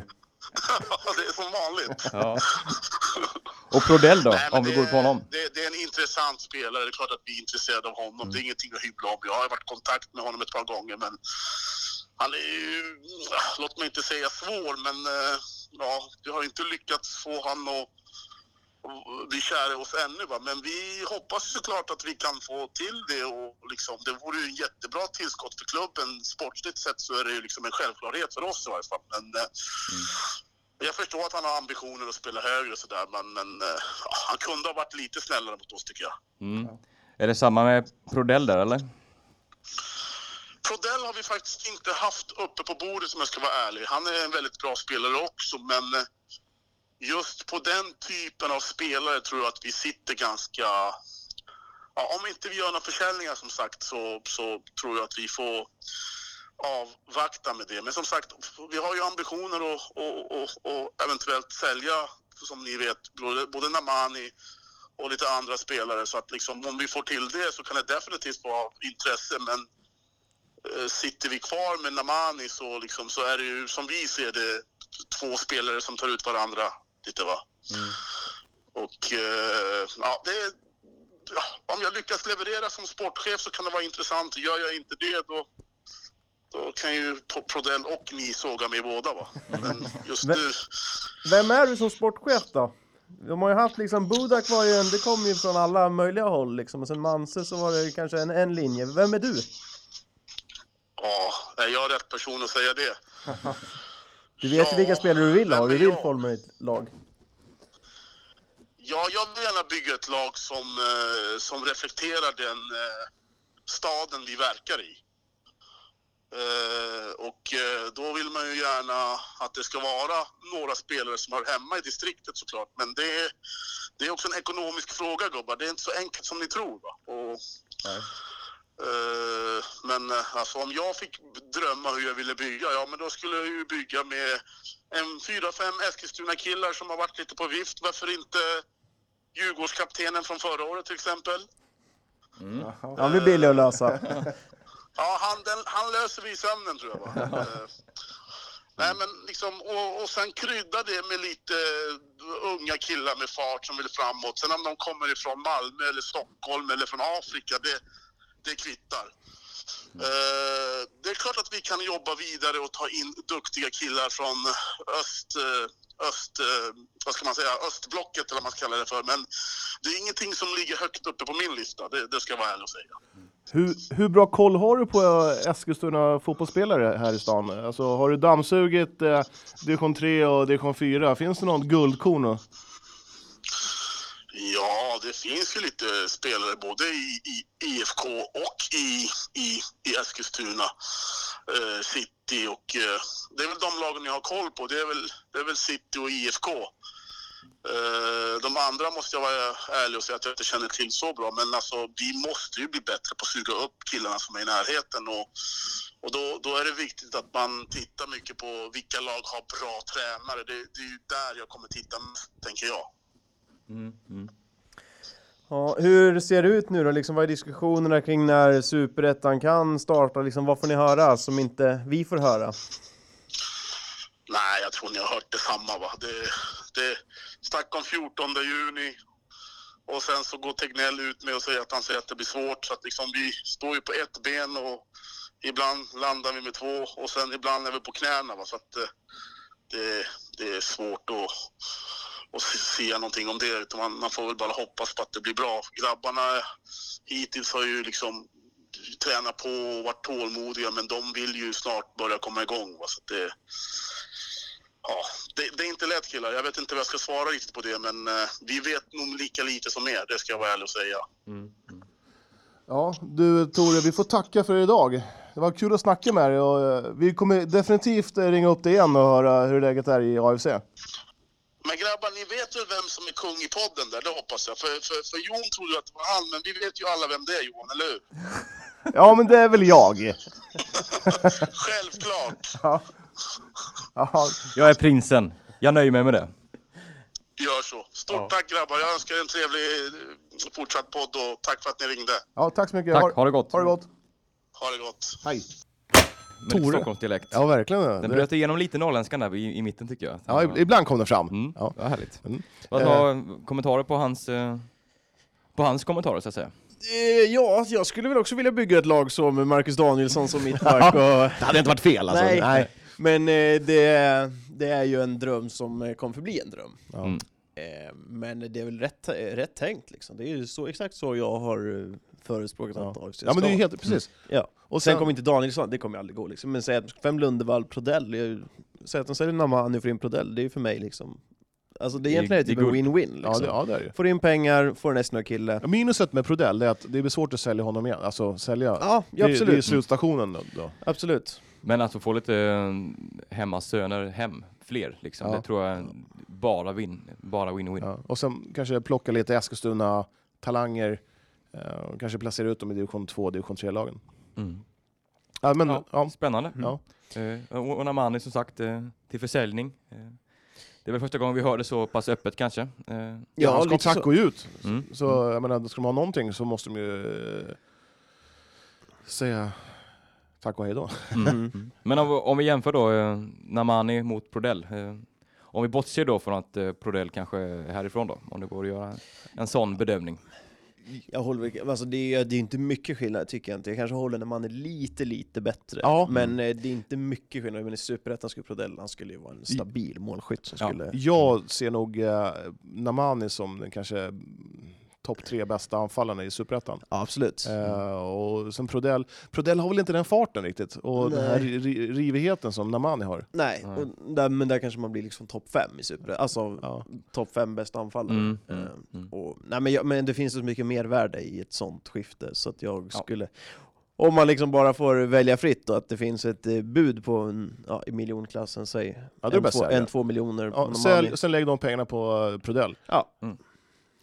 Speaker 5: det är som vanligt.
Speaker 1: Ja. Och Prodell då,
Speaker 5: Nej, men
Speaker 1: om vi
Speaker 5: det-
Speaker 1: går på honom?
Speaker 5: Det, det är en intressant spelare. Det är klart att vi är intresserade av honom.
Speaker 1: Mm.
Speaker 5: Det är ingenting att hybla om. Jag har varit i kontakt med honom ett par gånger, men han är ju, låt mig inte säga svår, men eh, ja, vi har inte lyckats få han att att bli kär i oss ännu. Va? Men vi hoppas ju såklart att vi kan få till det och liksom, det vore ju en jättebra tillskott för klubben. Sportsligt sett så är det ju liksom en självklarhet för oss i varje fall. Men, eh, jag förstår att han har ambitioner att spela högre och sådär, men, men eh, ja, han kunde ha varit lite snällare mot oss tycker jag.
Speaker 1: Mm. Är det samma med Prodell där eller?
Speaker 5: Prodell har vi faktiskt inte haft uppe på bordet om jag ska vara ärlig. Han är en väldigt bra spelare också, men eh, just på den typen av spelare tror jag att vi sitter ganska... Ja, om inte vi gör några försäljningar som sagt så, så tror jag att vi får avvakta med det. Men som sagt, vi har ju ambitioner att och, och, och eventuellt sälja, som ni vet, både, både Namani och lite andra spelare. Så att liksom, om vi får till det så kan det definitivt vara av intresse. Men eh, sitter vi kvar med Namani så, liksom, så är det ju som vi ser det två spelare som tar ut varandra lite va. Och eh, ja, det är, ja, om jag lyckas leverera som sportchef så kan det vara intressant. Gör jag inte det då, då kan ju Pro- Prodell och ni såga mig båda va. Men just nu,
Speaker 4: Vem är du som sportchef då? De har ju haft liksom, Budak var ju en, det kom ju från alla möjliga håll liksom, och sen Manse så var det ju kanske en, en linje. Vem är du?
Speaker 5: ja, är jag rätt person att säga det?
Speaker 4: Du vet ju vilka
Speaker 5: Ja,
Speaker 4: spelare du vill ha och du
Speaker 5: vem är
Speaker 4: vill
Speaker 5: jag?
Speaker 4: forma ett lag.
Speaker 5: Ja, jag vill gärna bygga ett lag som, eh, som reflekterar den eh, staden vi verkar i. Eh, Och eh, då vill man ju gärna att det ska vara några spelare som hör hemma i distriktet såklart. Men det är, det är också en ekonomisk fråga gubbar. Det är inte så enkelt som ni tror. Va? Och, eh, men eh, alltså, om jag fick drömma hur jag ville bygga, ja men då skulle jag ju bygga med en fyra, fem Eskilstuna-killar som har varit lite på vift. Varför inte Djurgårdskaptenen från förra året till exempel?
Speaker 6: Han blir billig att lösa.
Speaker 5: Ja, han, den, han löser vi i sömnen tror jag. Va? Eh, Nej, men liksom, och, och sen krydda det med lite eh, unga killar med fart som vill framåt. Sen om de kommer ifrån Malmö eller Stockholm eller från Afrika, det, det kvittar. Eh, det är klart att vi kan jobba vidare och ta in duktiga killar från öst, eh, öst, eh, vad ska man säga, östblocket eller vad man ska kalla det för. Men det är ingenting som ligger högt uppe på min lista, det, det ska jag vara ärlig och säga.
Speaker 2: Hur, hur bra koll har du på eh, Eskilstuna fotbollsspelare här i stan? Alltså, har du dammsugit eh, division 3 och division 4? Finns det något guldkorn? att-
Speaker 5: Ja, det finns ju lite spelare både i, i IFK och i, i, i Eskilstuna eh, City. Och, eh, det är väl de lagen jag har koll på. Det är väl, det är väl City och IFK. Eh, de andra måste jag vara ärlig och säga att jag inte känner till så bra. Men alltså, vi måste ju bli bättre på att suga upp killarna som är i närheten. Och, och då, då är det viktigt att man tittar mycket på vilka lag har bra tränare. Det, det är ju där jag kommer titta mest, tänker jag. Mm,
Speaker 6: Ja, hur ser det ut nu då? Liksom, vad är diskussionerna kring när Superettan kan starta? Liksom, vad får ni höra som inte vi får höra?
Speaker 5: Nej, jag tror ni har hört detsamma. Va? Det, det stack om 14 juni och sen så går Tegnell ut med och säger att han säger att det blir svårt. Så att liksom vi står ju på ett ben och ibland landar vi med två och sen ibland är vi på knäna. Va? Så att eh, det, det är svårt att, att säga någonting om det. Utan man, man får väl bara hoppas på att det blir bra. Grabbarna hittills har ju liksom tränat på och varit tålmodiga men de vill ju snart börja komma igång. Va? Så att det, Ja, det, det är inte lätt killar. Jag vet inte vad jag ska svara riktigt på det, men eh, vi vet nog lika lite som er, det ska jag vara ärlig och säga.
Speaker 2: Ja, du Tore, vi får tacka för idag. Det var kul att snacka med dig och eh, vi kommer definitivt eh, ringa upp dig igen och höra hur läget är i AFC.
Speaker 5: Men grabbar, ni vet väl vem som är kung i podden där, det hoppas jag. För, för, för Jon trodde ju att det var han, men vi vet ju alla vem det är Johan, eller hur?
Speaker 2: Ja, men det är väl jag.
Speaker 5: Självklart!
Speaker 2: Ja,
Speaker 1: Jag är prinsen. Jag nöjer mig med det.
Speaker 5: Gör så. Stort tack grabbar, jag önskar er en trevlig eh, fortsatt podd och tack för att ni ringde.
Speaker 2: ja tack så mycket.
Speaker 1: Tack, ha det gott.
Speaker 2: Ha det gott.
Speaker 5: Ha det gott!
Speaker 2: Hej.
Speaker 1: Med lite Stockholmsdialekt.
Speaker 2: Ja, verkligen.
Speaker 1: Den
Speaker 2: Det,
Speaker 1: bröt igenom lite norrländskan där i, i mitten tycker jag.
Speaker 2: ja, ib- ibland kom den fram.
Speaker 1: Mm.
Speaker 2: Ja.
Speaker 1: Vad härligt.
Speaker 2: Mm.
Speaker 1: Vad har kommentarer på hans, eh, på hans kommentarer så att säga?
Speaker 4: Eh, ja, jag skulle väl också vilja bygga ett lag så med Marcus Danielsson som mittback och...
Speaker 2: Det hade inte varit fel alltså.
Speaker 4: Nej. Men eh, det, det är ju en dröm som eh, kommer förbli en dröm.
Speaker 2: Ja.
Speaker 1: Mm.
Speaker 4: Eh, men det är väl rätt, eh, rätt tänkt liksom. Det är ju så, exakt så jag har eh, förespråkat
Speaker 2: Ja.
Speaker 4: att AFC ska
Speaker 2: Ja, men det är ju helt, precis.
Speaker 4: Ja.
Speaker 2: Och
Speaker 4: Sen
Speaker 2: sen-
Speaker 4: kommer inte Danielsson, det kommer aldrig gå liksom. Men säg att fem Lundevall, Prodell, jag- säg att de säljer Namani och får in Prodell, det är ju för mig liksom... Alltså det är
Speaker 1: Det är-
Speaker 4: egentligen
Speaker 1: det är
Speaker 4: typ en
Speaker 1: good.
Speaker 4: win-win liksom.
Speaker 2: Ja, det, ja, det är det ju.
Speaker 4: Får in pengar, får en Esnö-kille.
Speaker 2: Ja, Minuset med Prodell är att det blir svårt att sälja honom igen. Alltså sälja.
Speaker 4: Ja,
Speaker 2: Det-
Speaker 4: ja absolut. Mm.
Speaker 2: Det är slutstationen då. då.
Speaker 4: absolut.
Speaker 1: Men att få lite eh, hemmasöner hem, fler liksom.
Speaker 2: Ja.
Speaker 1: Det tror jag bara win, bara win-win.
Speaker 2: Ja. Och sen kanske plocka lite Eskilstuna-talanger eh, och kanske placera ut dem i division 2 och division 3-lagen.
Speaker 1: Mm.
Speaker 2: Ja, men,
Speaker 1: Ja.
Speaker 2: ja.
Speaker 4: Mm.
Speaker 2: Mm.
Speaker 1: Spännande.
Speaker 2: Ja.
Speaker 1: Eh, och och Namani som sagt eh, till försäljning. Eh, det är väl första gången vi hör det så pass öppet kanske. Eh,
Speaker 2: Ja, hans
Speaker 4: lite
Speaker 2: kontrakt
Speaker 4: så.
Speaker 2: går ju ut.
Speaker 1: mm.
Speaker 2: Så jag menar, ska de ha någonting så måste de ju eh, säga tack och hej då.
Speaker 1: Mm. Men om, vi- om vi jämför då eh, Namani mot Prodell. Eh, om vi bortser då från att eh, Prodell kanske är härifrån då, om det går att göra en sån bedömning.
Speaker 4: Jag håller, väl- alltså det, är, det är inte mycket skillnad tycker jag inte. Jag kanske håller när man är lite, lite bättre.
Speaker 2: Ja.
Speaker 4: Men eh, det är inte mycket skillnad. Men i Superettan skulle Prodell, han skulle ju vara en stabil målskytt som
Speaker 1: Ja.
Speaker 4: skulle...
Speaker 2: Jag ser nog eh, Namani som den kanske mm, topp tre bästa anfallarna i Superettan.
Speaker 4: Ja, absolut.
Speaker 2: Eh, och sen Prodell. Prodell har väl inte den farten riktigt, och den här
Speaker 4: Nej.
Speaker 2: ri- rivigheten som Namani har.
Speaker 4: Nej, och där, men där kanske man blir liksom topp fem i Superettan. Alltså
Speaker 2: Ja.
Speaker 4: topp fem bästa anfallare.
Speaker 1: Mm,
Speaker 4: Eh,
Speaker 1: mm, mm.
Speaker 4: Och, nej, men, jag, men det finns så mycket mervärde i ett sånt skifte så att jag
Speaker 1: Ja.
Speaker 4: skulle... Om man liksom bara får välja fritt och att det finns ett eh, bud på en, ja, i miljonklassen, säg
Speaker 2: Ja, det är
Speaker 4: en,
Speaker 2: bäst
Speaker 4: två,
Speaker 2: sälja.
Speaker 4: en, två miljoner.
Speaker 2: Ja,
Speaker 4: om man-
Speaker 2: sälj, sen lägg de pengarna på eh, Prodell.
Speaker 4: Ja.
Speaker 1: Mm.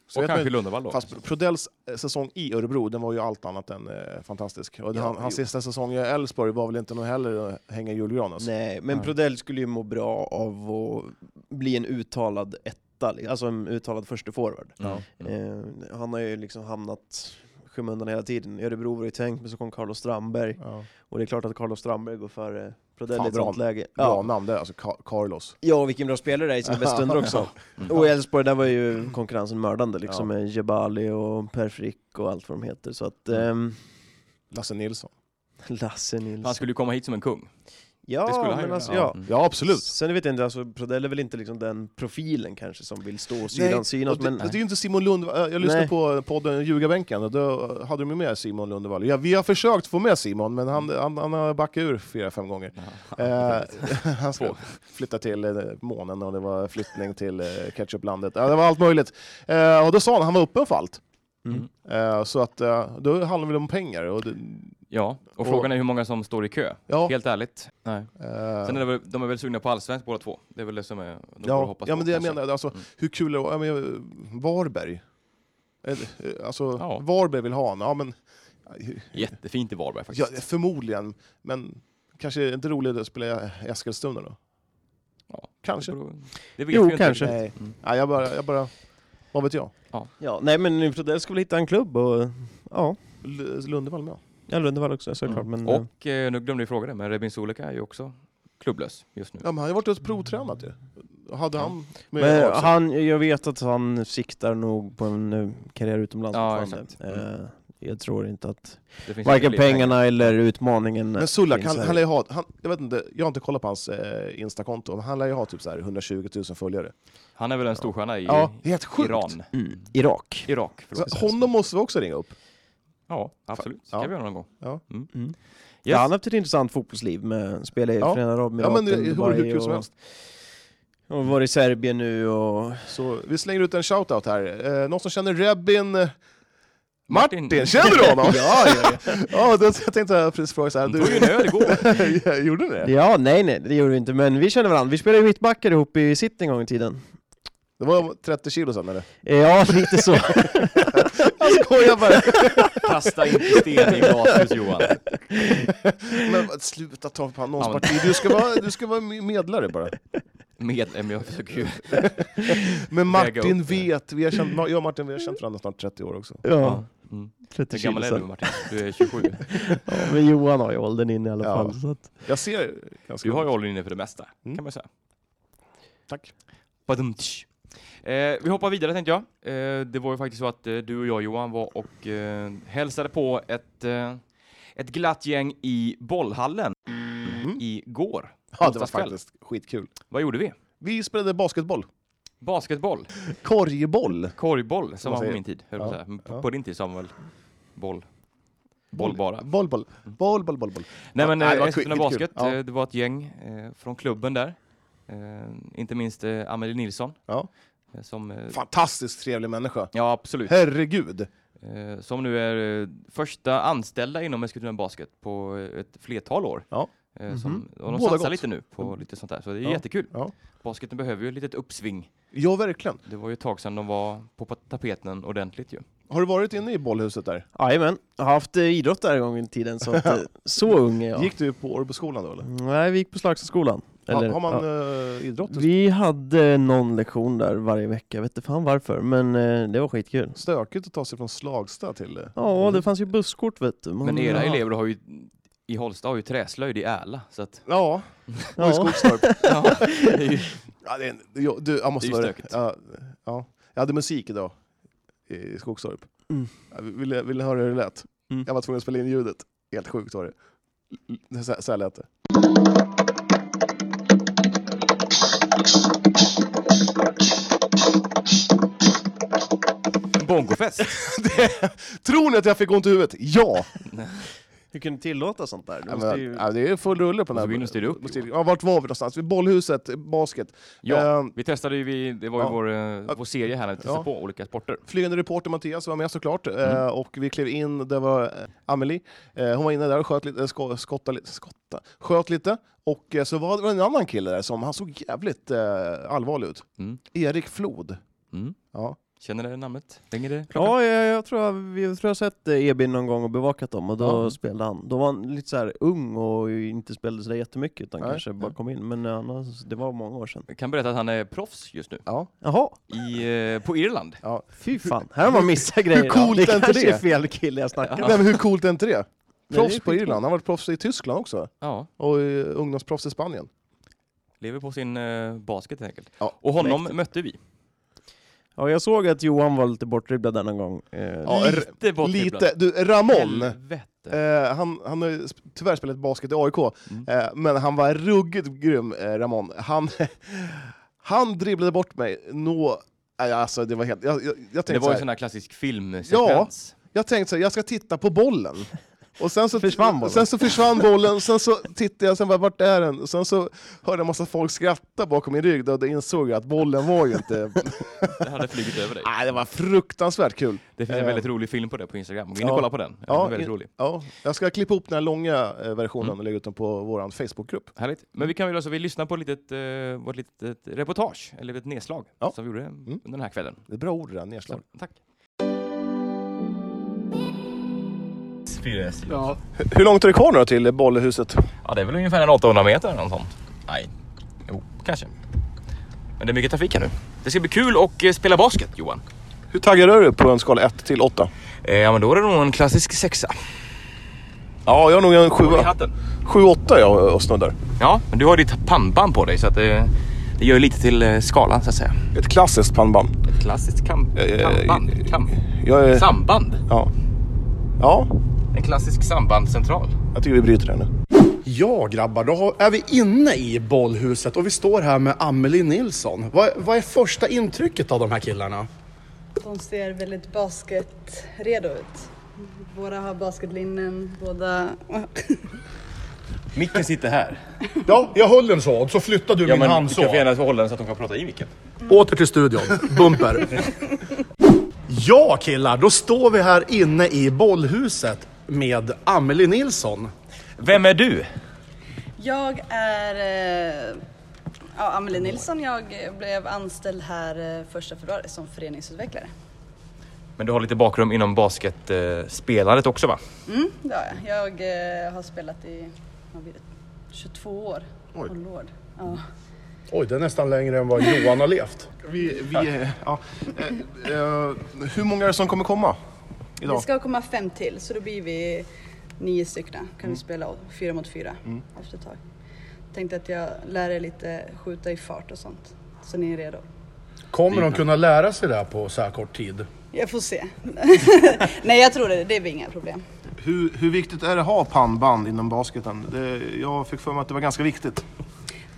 Speaker 2: Så
Speaker 1: och
Speaker 2: vet
Speaker 1: kanske
Speaker 2: man,
Speaker 1: Lundevall då.
Speaker 2: fast Prodells eh, säsong i Örebro, den var ju allt annat än eh, fantastisk. Och han, hans sista säsong i Elfsborg var väl inte någon heller att hänga i julgran. Alltså.
Speaker 4: Nej, men Prodell skulle ju må bra av att bli en uttalad etta, li- alltså en uttalad första forward.
Speaker 1: Ja.
Speaker 2: Mm.
Speaker 4: Eh, han har ju liksom hamnat i skymundan hela tiden. Örebro var ju tänkt, men så kom Carlos Strandberg.
Speaker 2: Ja.
Speaker 4: Och det är klart att Carlos Strandberg går före Prodell
Speaker 2: Fan,
Speaker 4: i ett
Speaker 2: bra-
Speaker 4: sånt läge.
Speaker 2: Bra
Speaker 4: Ja.
Speaker 2: namn det, alltså Ka- Carlos.
Speaker 4: ja, och vilken bra spelare det är i sina bästa stunder också. Och i Elfsborg, där var ju konkurrensen mördande liksom,
Speaker 2: Ja.
Speaker 4: med Jebali och Per Frick och allt vad de heter. Så att,
Speaker 2: Mm.
Speaker 4: ehm,
Speaker 2: Lasse Nilsson.
Speaker 4: Lasse Nilsson.
Speaker 1: Han skulle ju komma hit som en kung.
Speaker 4: Ja,
Speaker 1: Det skulle han
Speaker 4: men
Speaker 1: göra.
Speaker 4: alltså, ja.
Speaker 1: Mm.
Speaker 2: Ja, absolut.
Speaker 4: Sen vet jag inte, alltså, Prodell är väl inte liksom den profilen kanske som vill stå och
Speaker 2: Nej,
Speaker 4: synas, synas
Speaker 2: och det,
Speaker 4: men
Speaker 2: det är ju inte Simon Lundvall. Jag lyssnade
Speaker 4: Nej.
Speaker 2: på podden Ljugarbänken och då hade de ju med Simon Lundvall. Ja, vi har försökt få med Simon, men han, han, han har backat ur fyra, fem gånger.
Speaker 1: Mm.
Speaker 2: Eh, han ska flytta till eh, månen och det var flyttning till eh, ketchuplandet. Ja, det var allt möjligt. Eh, och då sa han, han var öppen för allt.
Speaker 1: Mm.
Speaker 2: Eh, så att eh, då handlar det om pengar. Och det,
Speaker 1: Ja, och frågan är hur många som står i kö.
Speaker 2: ja,
Speaker 1: Helt ärligt. Nej.
Speaker 2: eh,
Speaker 1: Sen är det väl, de är väl sugna på allsvenskt båda två. Det är väl det som är, de får
Speaker 2: ja,
Speaker 1: hoppas
Speaker 2: ja,
Speaker 1: på,
Speaker 2: men det jag
Speaker 1: kanske. Mm.
Speaker 2: menar, alltså, hur kul är det? Ja, men, eh, Varberg? Eh, eh, Alltså,
Speaker 1: Ja.
Speaker 2: Varberg vill ha honom. Ja, men,
Speaker 1: Jättefint i Varberg
Speaker 2: Ja,
Speaker 1: faktiskt.
Speaker 2: förmodligen. Men kanske är det inte roligt att spela i Eskilstuna då?
Speaker 1: Ja,
Speaker 2: Kanske.
Speaker 1: Det beror- Det vet
Speaker 4: Jo,
Speaker 1: vi ju
Speaker 4: kanske.
Speaker 1: Inte. Mm.
Speaker 2: Nej. Nej, jag bara, jag bara... Vad vet jag?
Speaker 4: ja, nej men Prodell ska väl hitta en klubb och ja,
Speaker 2: L- Lundevall med.
Speaker 4: ja Lundevall också såklart men eh,
Speaker 1: Och eh, nu glömde vi fråga det, men Rebin Solika är ju också klubblös just nu.
Speaker 2: Ja, men han har ju varit och provtränat ju. Hade han med
Speaker 4: men
Speaker 2: också?
Speaker 4: han, jag vet att han siktar nog på en eh, karriär utomlands
Speaker 1: Ja,
Speaker 4: fortfarande. Eh, jag tror inte att
Speaker 1: Det finns
Speaker 4: varken
Speaker 1: ju fler
Speaker 4: pengarna eller utmaningen
Speaker 2: Men Sulla,
Speaker 4: finns
Speaker 2: han,
Speaker 4: här.
Speaker 2: han lär ju ha, han, jag vet inte, jag har inte kollat på hans eh, Instakonto, men han lär ju ha typ så här 120 000 följare.
Speaker 1: Han är väl en storstjärna i
Speaker 2: Ja, helt sjukt!
Speaker 1: Iran.
Speaker 4: Mm. Irak.
Speaker 1: Irak, förlåt.
Speaker 2: Så, honom måste vi också ringa upp.
Speaker 1: Ja, absolut. Ska
Speaker 2: Ja.
Speaker 1: vi göra någon gång.
Speaker 2: Ja.
Speaker 1: Mm.
Speaker 4: Mm.
Speaker 1: Yes.
Speaker 4: Ja, han har haft ett intressant fotbollsliv med spel i
Speaker 2: Ja.
Speaker 4: Förenade
Speaker 2: Ja, men
Speaker 4: Arabemiraten,
Speaker 2: det är hur- hur kul
Speaker 4: och,
Speaker 2: som helst.
Speaker 4: och varit i Serbien nu och
Speaker 2: Så vi slänger ut en shoutout här. Eh, någon som känner Rebin... eh, Martin,
Speaker 1: Martin.
Speaker 2: känner du honom?
Speaker 4: Ja, ja,
Speaker 2: ja då, jag tänkte precis fråga så här,
Speaker 1: Du tog ju
Speaker 2: du...
Speaker 1: en öl igår.
Speaker 2: Gjorde ni det?
Speaker 4: Ja, nej nej, det gjorde vi inte, men vi känner varandra. Vi spelade ju mittbackar ihop i sitt en gång i tiden.
Speaker 2: Det var 30 kilo sen eller?
Speaker 4: Eh, Ja, lite så.
Speaker 2: Jag skojar bara!
Speaker 1: Kasta inte sten i glashus Johan.
Speaker 2: Men vad- sluta ta på någons
Speaker 1: Ja, men-
Speaker 2: parti, du ska, vara, du ska vara medlare bara.
Speaker 1: Med, men jag försöker ju.
Speaker 2: Men Martin
Speaker 1: upp.
Speaker 2: vet, vi har känt, jag och Martin vi har känt varandra snart 30 år också.
Speaker 4: Ja,
Speaker 1: Mm.
Speaker 4: 30
Speaker 1: Hur
Speaker 4: kilo
Speaker 1: gammal är du
Speaker 4: sen.
Speaker 1: Martin? Du är 27.
Speaker 4: Ja, men Johan har ju åldern inne i alla
Speaker 2: Ja.
Speaker 4: fall. Så att...
Speaker 2: Jag ser ganska
Speaker 1: Du har ju åldern inne för det mesta,
Speaker 2: Mm.
Speaker 1: kan man säga.
Speaker 2: Tack.
Speaker 1: Badumtsch. Eh, vi hoppar vidare tänkte jag. Eh, det var ju faktiskt så att eh, du och jag Johan var och eh, hälsade på ett, eh, ett glatt gäng i bollhallen
Speaker 2: Mhm.
Speaker 1: igår.
Speaker 2: Ja, det var
Speaker 1: Onsdagskväll.
Speaker 2: faktiskt skitkul.
Speaker 1: Vad gjorde vi?
Speaker 2: Vi spelade basketboll.
Speaker 1: Basketboll,
Speaker 2: Korgboll.
Speaker 1: korgboll som var
Speaker 2: man
Speaker 1: på
Speaker 2: säger.
Speaker 1: min tid, höll jag på att
Speaker 2: Ja,
Speaker 1: säga. Men på-
Speaker 2: ja.
Speaker 1: På din tid Samuel, boll. Boll bara.
Speaker 2: Boll, boll. Boll, boll, boll, boll.
Speaker 1: Nej men
Speaker 2: nej, det
Speaker 1: eh,
Speaker 2: var
Speaker 1: Eskilstuna
Speaker 2: skitkul.
Speaker 1: Basket,
Speaker 2: Ja.
Speaker 1: eh, det var ett gäng eh, från klubben där. Eh, inte minst eh, Amelie Nilsson.
Speaker 2: Ja.
Speaker 1: eh, Som, eh,
Speaker 2: Fantastiskt trevlig människa.
Speaker 1: ja absolut.
Speaker 2: Herregud.
Speaker 1: Eh, som nu är eh, första anställda inom Eskilstuna Basket på eh, ett flertal år.
Speaker 2: Ja. Mhm.
Speaker 1: Eh, som, och de
Speaker 2: Båda
Speaker 1: satsar
Speaker 2: gott. Mm.
Speaker 1: lite nu på lite sånt där, så det är
Speaker 2: Ja.
Speaker 1: jättekul.
Speaker 2: Ja.
Speaker 1: Basketen behöver ju ett litet uppsving.
Speaker 2: Ja, verkligen.
Speaker 1: Det var ju ett tag sedan de var på pa- tapeten ordentligt ju.
Speaker 2: Har du varit inne i bollhuset där?
Speaker 4: Jajamän, jag har haft eh, idrott där en gång i tiden, så att, eh, så ung är jag.
Speaker 2: Gick du på Årboskolan då eller?
Speaker 4: Nej, vi gick på Slagstaskolan.
Speaker 2: Eller, har man
Speaker 4: ja.
Speaker 2: eh, idrott?
Speaker 4: Vi hade någon lektion där varje vecka, vet inte fan varför, men eh, det var skitkul.
Speaker 2: Stökigt att ta sig från Slagsta till... eh,
Speaker 4: Ja, det fanns ju busskort vet du. Man-
Speaker 1: Men era
Speaker 4: ja.
Speaker 1: elever har ju, i Holsta har ju träslöjd i Äla, så att
Speaker 2: Ja, och i
Speaker 4: Ja.
Speaker 2: Skogstorp.
Speaker 1: ja, det är ju
Speaker 2: Ja, det är, jag, du, jag måste
Speaker 1: Det är ju
Speaker 2: vara
Speaker 1: stökigt.
Speaker 2: ja, ja. Jag hade musik idag i Skogstorp.
Speaker 4: Mm.
Speaker 2: Jag ville, ville höra hur det lät.
Speaker 4: Mm.
Speaker 2: Jag var tvungen att spela in ljudet. Helt sjukt var det. L- l- Så, så här lät det.
Speaker 1: en bongofest.
Speaker 2: Tror ni att jag fick ont i huvudet? Ja!
Speaker 4: Hur kan du tillåta sånt där? Du
Speaker 2: Ja,
Speaker 4: måste
Speaker 2: men,
Speaker 4: ju...
Speaker 2: ja, det är full rulle på den
Speaker 1: så
Speaker 2: här.
Speaker 1: vill de styra upp,
Speaker 2: måste- Ja, vart var vi någonstans? Vid bollhuset, eh, basket.
Speaker 1: Ja,
Speaker 2: Eh,
Speaker 1: vi testade ju, vi, det var ju
Speaker 2: ja.
Speaker 1: vår, eh, vår serie här, att testa
Speaker 2: Ja.
Speaker 1: på olika sporter.
Speaker 2: flygande reporter Mattias var med såklart eh, och vi klev in, det var eh, Amelie. Eh, hon var inne där och sköt lite, eh, sko, skotta, li- skotta, sköt lite och eh, så var det var en annan kille där som han såg jävligt eh, allvarlig ut.
Speaker 1: Mm.
Speaker 2: Erik Flod.
Speaker 1: Mm.
Speaker 2: Ja.
Speaker 1: Känner du namnet? Ringer det?
Speaker 4: Ja, jag, jag, tror jag, jag tror jag har sett eh, Ebin någon gång och bevakat dem och då
Speaker 2: Ja.
Speaker 4: spelade han. Då var han lite så här ung och inte spelade sådär jättemycket utan
Speaker 2: Nej,
Speaker 4: kanske bara kom in. Men eh, annars, det var många år sedan.
Speaker 1: Jag kan berätta att han är proffs just nu
Speaker 2: Ja.
Speaker 4: Jaha,
Speaker 1: i, eh, på Irland.
Speaker 4: fy fan. Här har man missat grejer.
Speaker 2: coolt
Speaker 4: det
Speaker 2: är inte
Speaker 4: kanske
Speaker 2: det?
Speaker 4: är fel kille jag snackar med.
Speaker 2: Nej, men hur coolt är inte det?
Speaker 4: det är
Speaker 2: Proffs på
Speaker 4: skitcoolt.
Speaker 2: Irland, han har varit proffs i Tyskland också
Speaker 1: Ja,
Speaker 2: och eh, ungdomsproffs i Spanien.
Speaker 1: lever på sin eh, basket helt enkelt.
Speaker 2: Ja.
Speaker 1: Och honom mötte vi.
Speaker 4: Ja, jag såg att Johan var lite bortdribblad där någon gång. Eh,
Speaker 2: Ja, r-
Speaker 1: Lite bortdribblad.
Speaker 2: Lite, du, Ramon.
Speaker 1: Helvete.
Speaker 2: Eh, han, han har ju sp- tyvärr spelat basket i AIK,
Speaker 1: Mm.
Speaker 2: eh, men han var ruggigt grym, eh, Ramon. Han, han dribblade bort mig. Nå, nej, alltså, det var helt, jag, jag, jag,
Speaker 1: Det
Speaker 2: tänkte
Speaker 1: var
Speaker 2: så
Speaker 1: ju
Speaker 2: här,
Speaker 1: en sån här klassisk filmsekvens.
Speaker 2: jag tänkte så här, jag ska titta på bollen. Och sen så
Speaker 4: Försvann bollen.
Speaker 2: Sen så försvann bollen, sen så tittade jag, sen bara, vart är den? Och sen så hörde jag en massa folk skratta bakom min rygg, då då insåg jag att bollen var ju inte...
Speaker 1: Det hade flugit över dig.
Speaker 2: nej, det var fruktansvärt kul.
Speaker 1: Det finns en
Speaker 2: Eh.
Speaker 1: väldigt rolig film på det på Instagram. Gå in och
Speaker 2: Ja.
Speaker 1: kolla på den. Den är väldigt
Speaker 2: in-
Speaker 1: rolig.
Speaker 2: ja, jag ska klippa ihop den här långa eh, versionen
Speaker 1: Mm.
Speaker 2: och lägga ut den på vår Facebookgrupp.
Speaker 1: Härligt. Men vi kan väl alltså, vi lyssnar på ett litet, eh, vårt litet ett reportage, eller ett nedslag,
Speaker 2: Ja. Mm.
Speaker 1: som vi gjorde under den här kvällen.
Speaker 2: Det är bra ord det där, nedslag.
Speaker 1: Tack.
Speaker 2: Hur långt är det kvar nu då till bollhuset?
Speaker 1: Ja, det är väl ungefär en 800 meter eller något sånt. Nej, jo, kanske. Men det är mycket trafik här nu. Det ska bli kul att eh, spela basket, Johan.
Speaker 2: Hur taggad är du på en skala 1 till 8?
Speaker 1: Eh, ja, men då är det nog en klassisk sexa.
Speaker 2: Ja, jag har nog en
Speaker 1: Håll i
Speaker 2: 7-8
Speaker 1: hatten.
Speaker 2: jag och snuddar.
Speaker 1: Ja, men du har ditt pannband på dig så att det, det gör lite till eh, skalan så att säga.
Speaker 2: Ett klassiskt pannband.
Speaker 1: Ett klassiskt kamp,
Speaker 2: Eh,
Speaker 1: kampband, kamp,
Speaker 2: Jag är...
Speaker 1: samband.
Speaker 2: Ja. ja,
Speaker 1: eh. En klassisk sambandscentral.
Speaker 2: jag tycker vi bryter det nu.
Speaker 7: Ja grabbar, då har- är vi inne i bollhuset och vi står här med Amelie Nilsson. Vad, vad är första intrycket av de här killarna?
Speaker 8: De ser väldigt basketredo ut. Båda har basketlinnen, båda...
Speaker 1: Micken sitter här.
Speaker 7: Ja, jag höll en så och så flyttade du min hand så.
Speaker 1: hålla den så att de kan prata i micken.
Speaker 7: Åter till studion. Bumper. ja killar, då står vi här inne i bollhuset med Amelie Nilsson.
Speaker 1: Vem är du?
Speaker 8: Jag är eh, ja, Amelie Nilsson. Jag blev anställd här eh, första februari som föreningsutvecklare.
Speaker 1: Men du har lite bakgrund inom basketspelandet också va?
Speaker 8: Mm, det har jag. Jag eh, har spelat i vad blir det, 22 år.
Speaker 7: Oj.
Speaker 8: Åh, lord. Ja.
Speaker 7: Oj, det är nästan längre än vad Johan har levt.
Speaker 2: Vi, vi, eh, ja, eh, eh, hur många är det som kommer komma?
Speaker 8: Det
Speaker 2: Idag?
Speaker 8: ska komma fem till, så då blir vi nio stycken. Kan vi spela fyra mot fyra efter ett tag. Tänkte att jag lär er lite skjuta i fart och sånt, så ni är redo.
Speaker 7: Kommer de kunna lära sig det här på så här kort tid?
Speaker 8: Jag får se. Nej, jag tror det. Det blir inga problem.
Speaker 2: Hur, hur viktigt är det att ha pannband inom basketen? Det, jag fick för mig att det var ganska viktigt.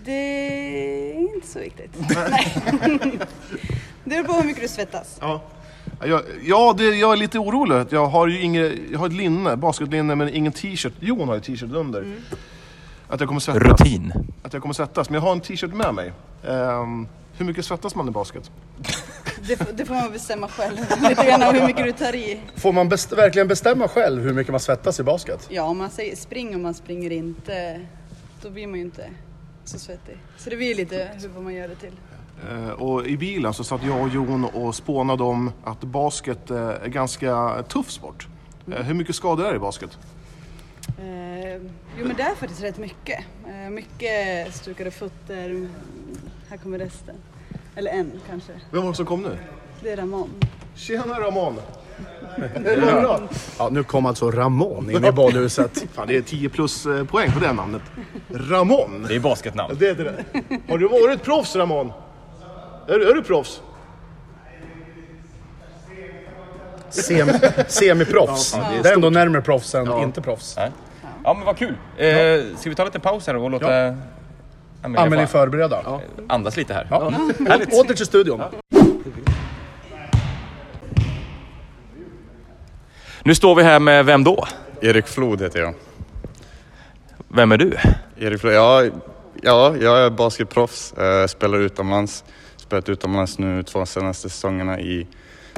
Speaker 8: Det är inte så viktigt. Nej. det beror på hur mycket du svettas.
Speaker 2: Ja, jag, ja det, jag är lite orolig. Jag har ju inget, jag har ett linne, basketlinne, men ingen t-shirt. Jon har ju t-shirt under. Att jag kommer svettas.
Speaker 1: Rutin.
Speaker 2: Att jag kommer svettas, men jag har en t-shirt med mig. Ehm, hur mycket svettas man i basket?
Speaker 8: Det, får- det får man bestämma själv. Lite grann av hur mycket du tar i.
Speaker 7: Får man best- verkligen bestämma själv hur mycket man svettas i basket?
Speaker 8: Ja, om man säger spring och man springer inte, då blir man ju inte så svettig. Så det blir lite hur vad man gör det till.
Speaker 2: Eh, och i bilen så satt jag och Jon och spånade om att basket eh, är ganska tuff sport. Eh, hur mycket skador är det i basket?
Speaker 8: Eh, jo men det är faktiskt rätt mycket. Eh, mycket stukade fötter. Mm, Här kommer resten. Eller en kanske.
Speaker 2: Vem var det som kom nu?
Speaker 8: Det är Ramon.
Speaker 2: Tjena Ramon! Är det bra?
Speaker 7: Ja, nu kom alltså Ramon in i bollhuset.
Speaker 2: Fan, det är 10 plus eh, poäng på det namnet. Ramon!
Speaker 1: Det är basketnamn.
Speaker 2: Det heter det. Har du varit proffs Ramon? Är, du- är du proffs?
Speaker 7: Sem, semiproffs. det är ändå närmare proffs än inte proffs.
Speaker 1: Ja men vad kul. Eh, ska vi ta en liten paus här och låta ja. Amelia,
Speaker 7: Amelie
Speaker 1: få
Speaker 7: förbereda.
Speaker 1: andas lite här?
Speaker 7: Å- Åter till studion.
Speaker 1: Nu står vi här med vem då?
Speaker 9: Erik Flod heter jag.
Speaker 1: Vem är du?
Speaker 9: Erik Flöj, ja, ja, jag är basketproffs. Eh, spelar utomlands. Spelat utomlands nu två senaste säsongerna i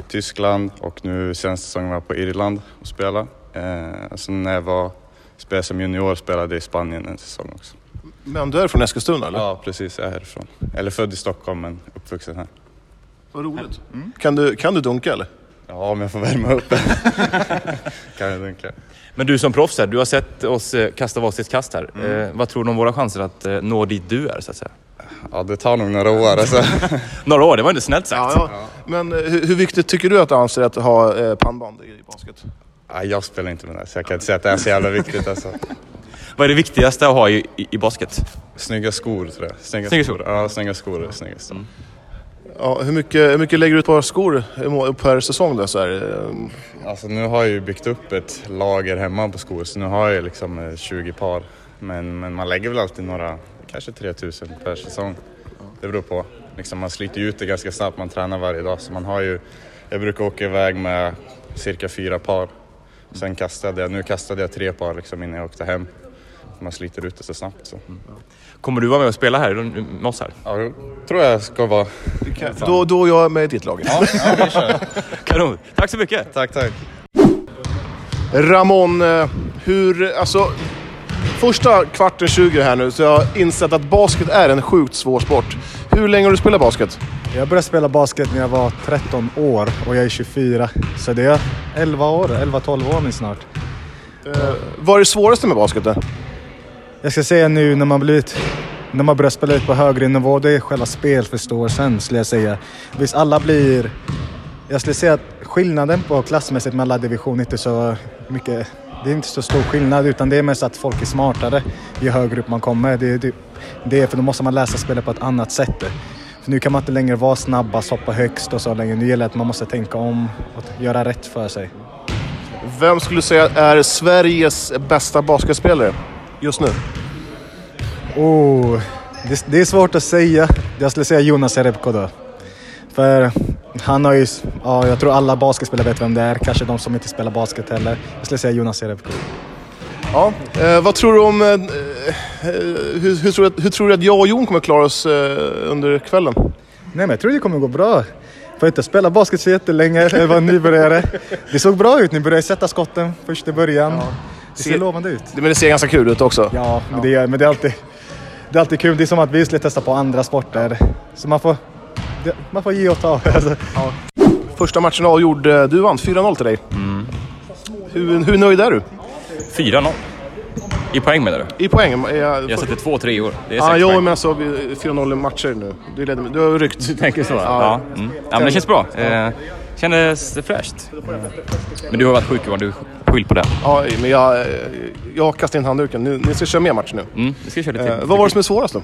Speaker 9: Tyskland och nu senaste säsongen var jag på Irland och spelade. Eh, sen när jag var, spelade som junior spelade jag i Spanien en säsong också.
Speaker 2: Men du är från Eskilstuna eller?
Speaker 9: Ja, precis. Jag är härifrån. Eller född i Stockholm men uppvuxen här.
Speaker 2: Vad roligt.
Speaker 7: Mm.
Speaker 2: Kan, du, kan du dunka eller?
Speaker 9: Ja, om jag får värma upp. kan jag tänka.
Speaker 1: Men du som proffs här, du har sett oss eh, kasta varsitt kast här. Eh, vad tror du om våra chanser att eh, nå dit du är så att säga?
Speaker 9: Ja, det tar nog några år alltså.
Speaker 1: Några år, det var inte snällt sagt.
Speaker 2: Ja, ja. Men eh, hur, hur viktigt tycker du att du anser att ha eh, pannband i basket?
Speaker 9: Ja, jag spelar inte med det här, så jag kan inte säga att det är så jävla viktigt alltså.
Speaker 1: Vad är det viktigaste att ha i, i, i basket?
Speaker 9: Snygga skor tror jag.
Speaker 1: Snygga skor.
Speaker 9: Ja, snygga skor är snyggast.
Speaker 2: Ja, hur, mycket, hur mycket lägger du ut på skor i må- per säsong? Då, så här? eh,
Speaker 9: Alltså nu har jag ju byggt upp ett lager hemma på skor så nu har jag ju liksom eh, 20 par. Men, men man lägger väl alltid några, kanske 3000 per säsong. Det beror på. Liksom man sliter ju ut det ganska snabbt, man tränar varje dag så man har ju, jag brukar åka iväg med cirka fyra par. Sen kastade jag, nu kastade jag tre par liksom innan jag åkte hem. Man sliter ut det så snabbt så.
Speaker 1: Kommer du vara med och spela här med oss här?
Speaker 9: Ja, jag tror jag ska vara...
Speaker 2: Då, då är jag med i ditt lag.
Speaker 1: Kanon! Tack så mycket!
Speaker 9: Tack, tack.
Speaker 2: Ramon, eh, hur... Alltså, första kvarten 20 här nu så jag har insett att basket är en sjukt svår sport. Hur länge har du spelat basket?
Speaker 10: Jag började spela basket när jag var 13 år och jag är 24. Så det är 11 år, 11-12 år nu snart.
Speaker 2: Vad är det svåraste med basket? då?
Speaker 10: Jag ska säga nu när man blivit när man börjar spela ut på högre nivå, det är själva spelförståelsen skulle jag säga. Visst, alla blir... Jag skulle säga att skillnaden på klassmässigt mellan division inte är så mycket... Det är inte så stor skillnad utan det är mest att folk är smartare ju högre upp man kommer. Det är, det, det är för då måste man läsa spelet på ett annat sätt. För nu kan man inte längre vara snabbast, hoppa högst och så längre. Nu gäller det att man måste tänka om och göra rätt för sig.
Speaker 2: Vem skulle du säga är Sveriges bästa basketspelare just nu?
Speaker 10: Oh, det, det är svårt att säga. Jag skulle säga Jonas Jerebko då. För han har ju, s- ja, jag tror alla basketspelare vet vem det är. Kanske de som inte spelar basket heller. Jag skulle säga Jonas Jerebko.
Speaker 2: Ja. Eh, vad tror du om... Eh, eh, hur, hur, tror du att, hur tror du att jag och Jon kommer klara oss eh, under kvällen?
Speaker 10: Nej men jag tror det kommer gå bra. Får inte spela basket så jättelänge, eller var nybörjare. Det såg bra ut, ni började sätta skotten först i början. Det ser
Speaker 2: Se-
Speaker 10: lovande ut.
Speaker 2: Men det ser ganska kul ut också.
Speaker 10: Ja, men, det, är- men det, är alltid, det är alltid kul. Det är som att vi skulle testa på andra sporter. Så man får, det, man får ge och ta. Alltså.
Speaker 2: Första matchen avgjord. eh, Du vann 4-0 till dig.
Speaker 1: Mm.
Speaker 2: Hur, hur nöjd är du?
Speaker 1: 4-0. I poäng menar du? Ah,
Speaker 2: I poäng? Är jag,
Speaker 1: Jag sätter två treor. Det är sex
Speaker 2: Ja, jo,
Speaker 1: poäng.
Speaker 2: men alltså vi- 4-0 i matcher nu. Du, leder, med- du har ryckt.
Speaker 1: Du tänker så? Ja. Mm. ja, men det känns bra. Eh, kändes fräscht. Eh, Men du har varit sjuk Johan, du skyll på det.
Speaker 2: Ja, men jag, eh, jag kastar in handduken. Nu, ni ska köra mer matcher nu.
Speaker 1: Mm. Vi ska köra lite.
Speaker 2: Eh, vad var det som är svårast då?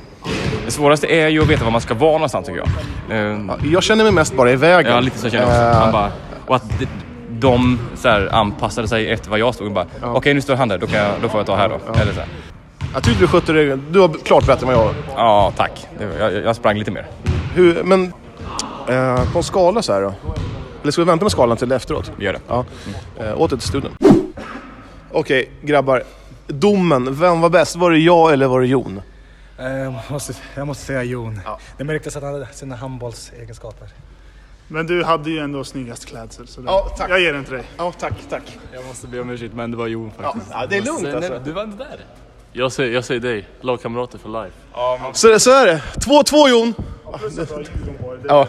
Speaker 1: Det svåraste är ju att veta var man ska vara någonstans tycker jag. Eh,
Speaker 2: Jag känner mig mest bara i Eh, vägen.
Speaker 1: Ja, lite så känner jag också. Man bara, och att de, de så här, anpassade sig efter vad jag stod och bara okej nu står han där, då, kan jag, då får jag ta här då. Eller så här.
Speaker 2: Jag tyckte du skötte dig. Du var klart bättre än vad jag var.
Speaker 1: Ja, tack. Det var- Jag, jag sprang lite mer.
Speaker 2: Hur, men eh, på en skala så här då? Eller ska vi vänta med skalan till efteråt?
Speaker 1: Vi gör det.
Speaker 2: Ja. Eh, åter till studion. Okej, grabbar. Domen. Vem var bäst? Var det jag eller var det Jon?
Speaker 10: Jag Eh, måste, jag måste säga Jon. Det märktes att han hade sina handbollsegenskaper.
Speaker 11: Men du hade ju ändå snyggast klädsel. Så det-
Speaker 2: Ja, tack.
Speaker 11: Jag ger den till dig.
Speaker 2: Ja, tack, tack.
Speaker 12: Jag måste be om ursäkt, men det var Jon
Speaker 2: Ja, ja, det är lugnt alltså.
Speaker 12: Du var inte där. Jag säger, jag säger dig, lagkamrater för life.
Speaker 2: Så, så är det. 2-2 Jon. Ja.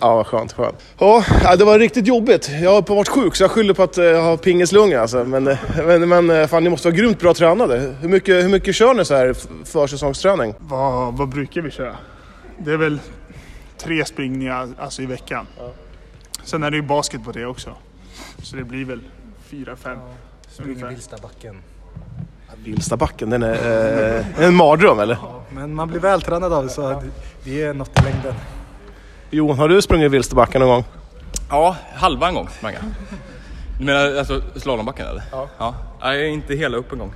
Speaker 2: Ja, vad skönt. skönt. Ja, ja, det var riktigt jobbigt. Jag har varit sjuk så jag skyller på att eh, jag har pingislunga. Alltså. Men, eh, men, men eh, fan, ni måste vara grymt bra tränade. Hur mycket, hur mycket kör ni så här f- försäsongsträning?
Speaker 11: Vad, vad brukar vi köra? Det är väl tre springningar alltså, i veckan. Sen är det ju basket på det också. Så det blir väl fyra, fem. ungefär.
Speaker 10: Vilstabacken.
Speaker 2: Vilstabacken, den är eh, en mardröm eller?
Speaker 10: Men man blir vältränad av det så det, det är något i längden.
Speaker 2: Jon, har du sprungit Vilstabacken någon gång?
Speaker 1: Ja, halva en gång sprang jag. Du menar alltså slalombacken eller? Ja. ja. Nej, inte hela upp en gång.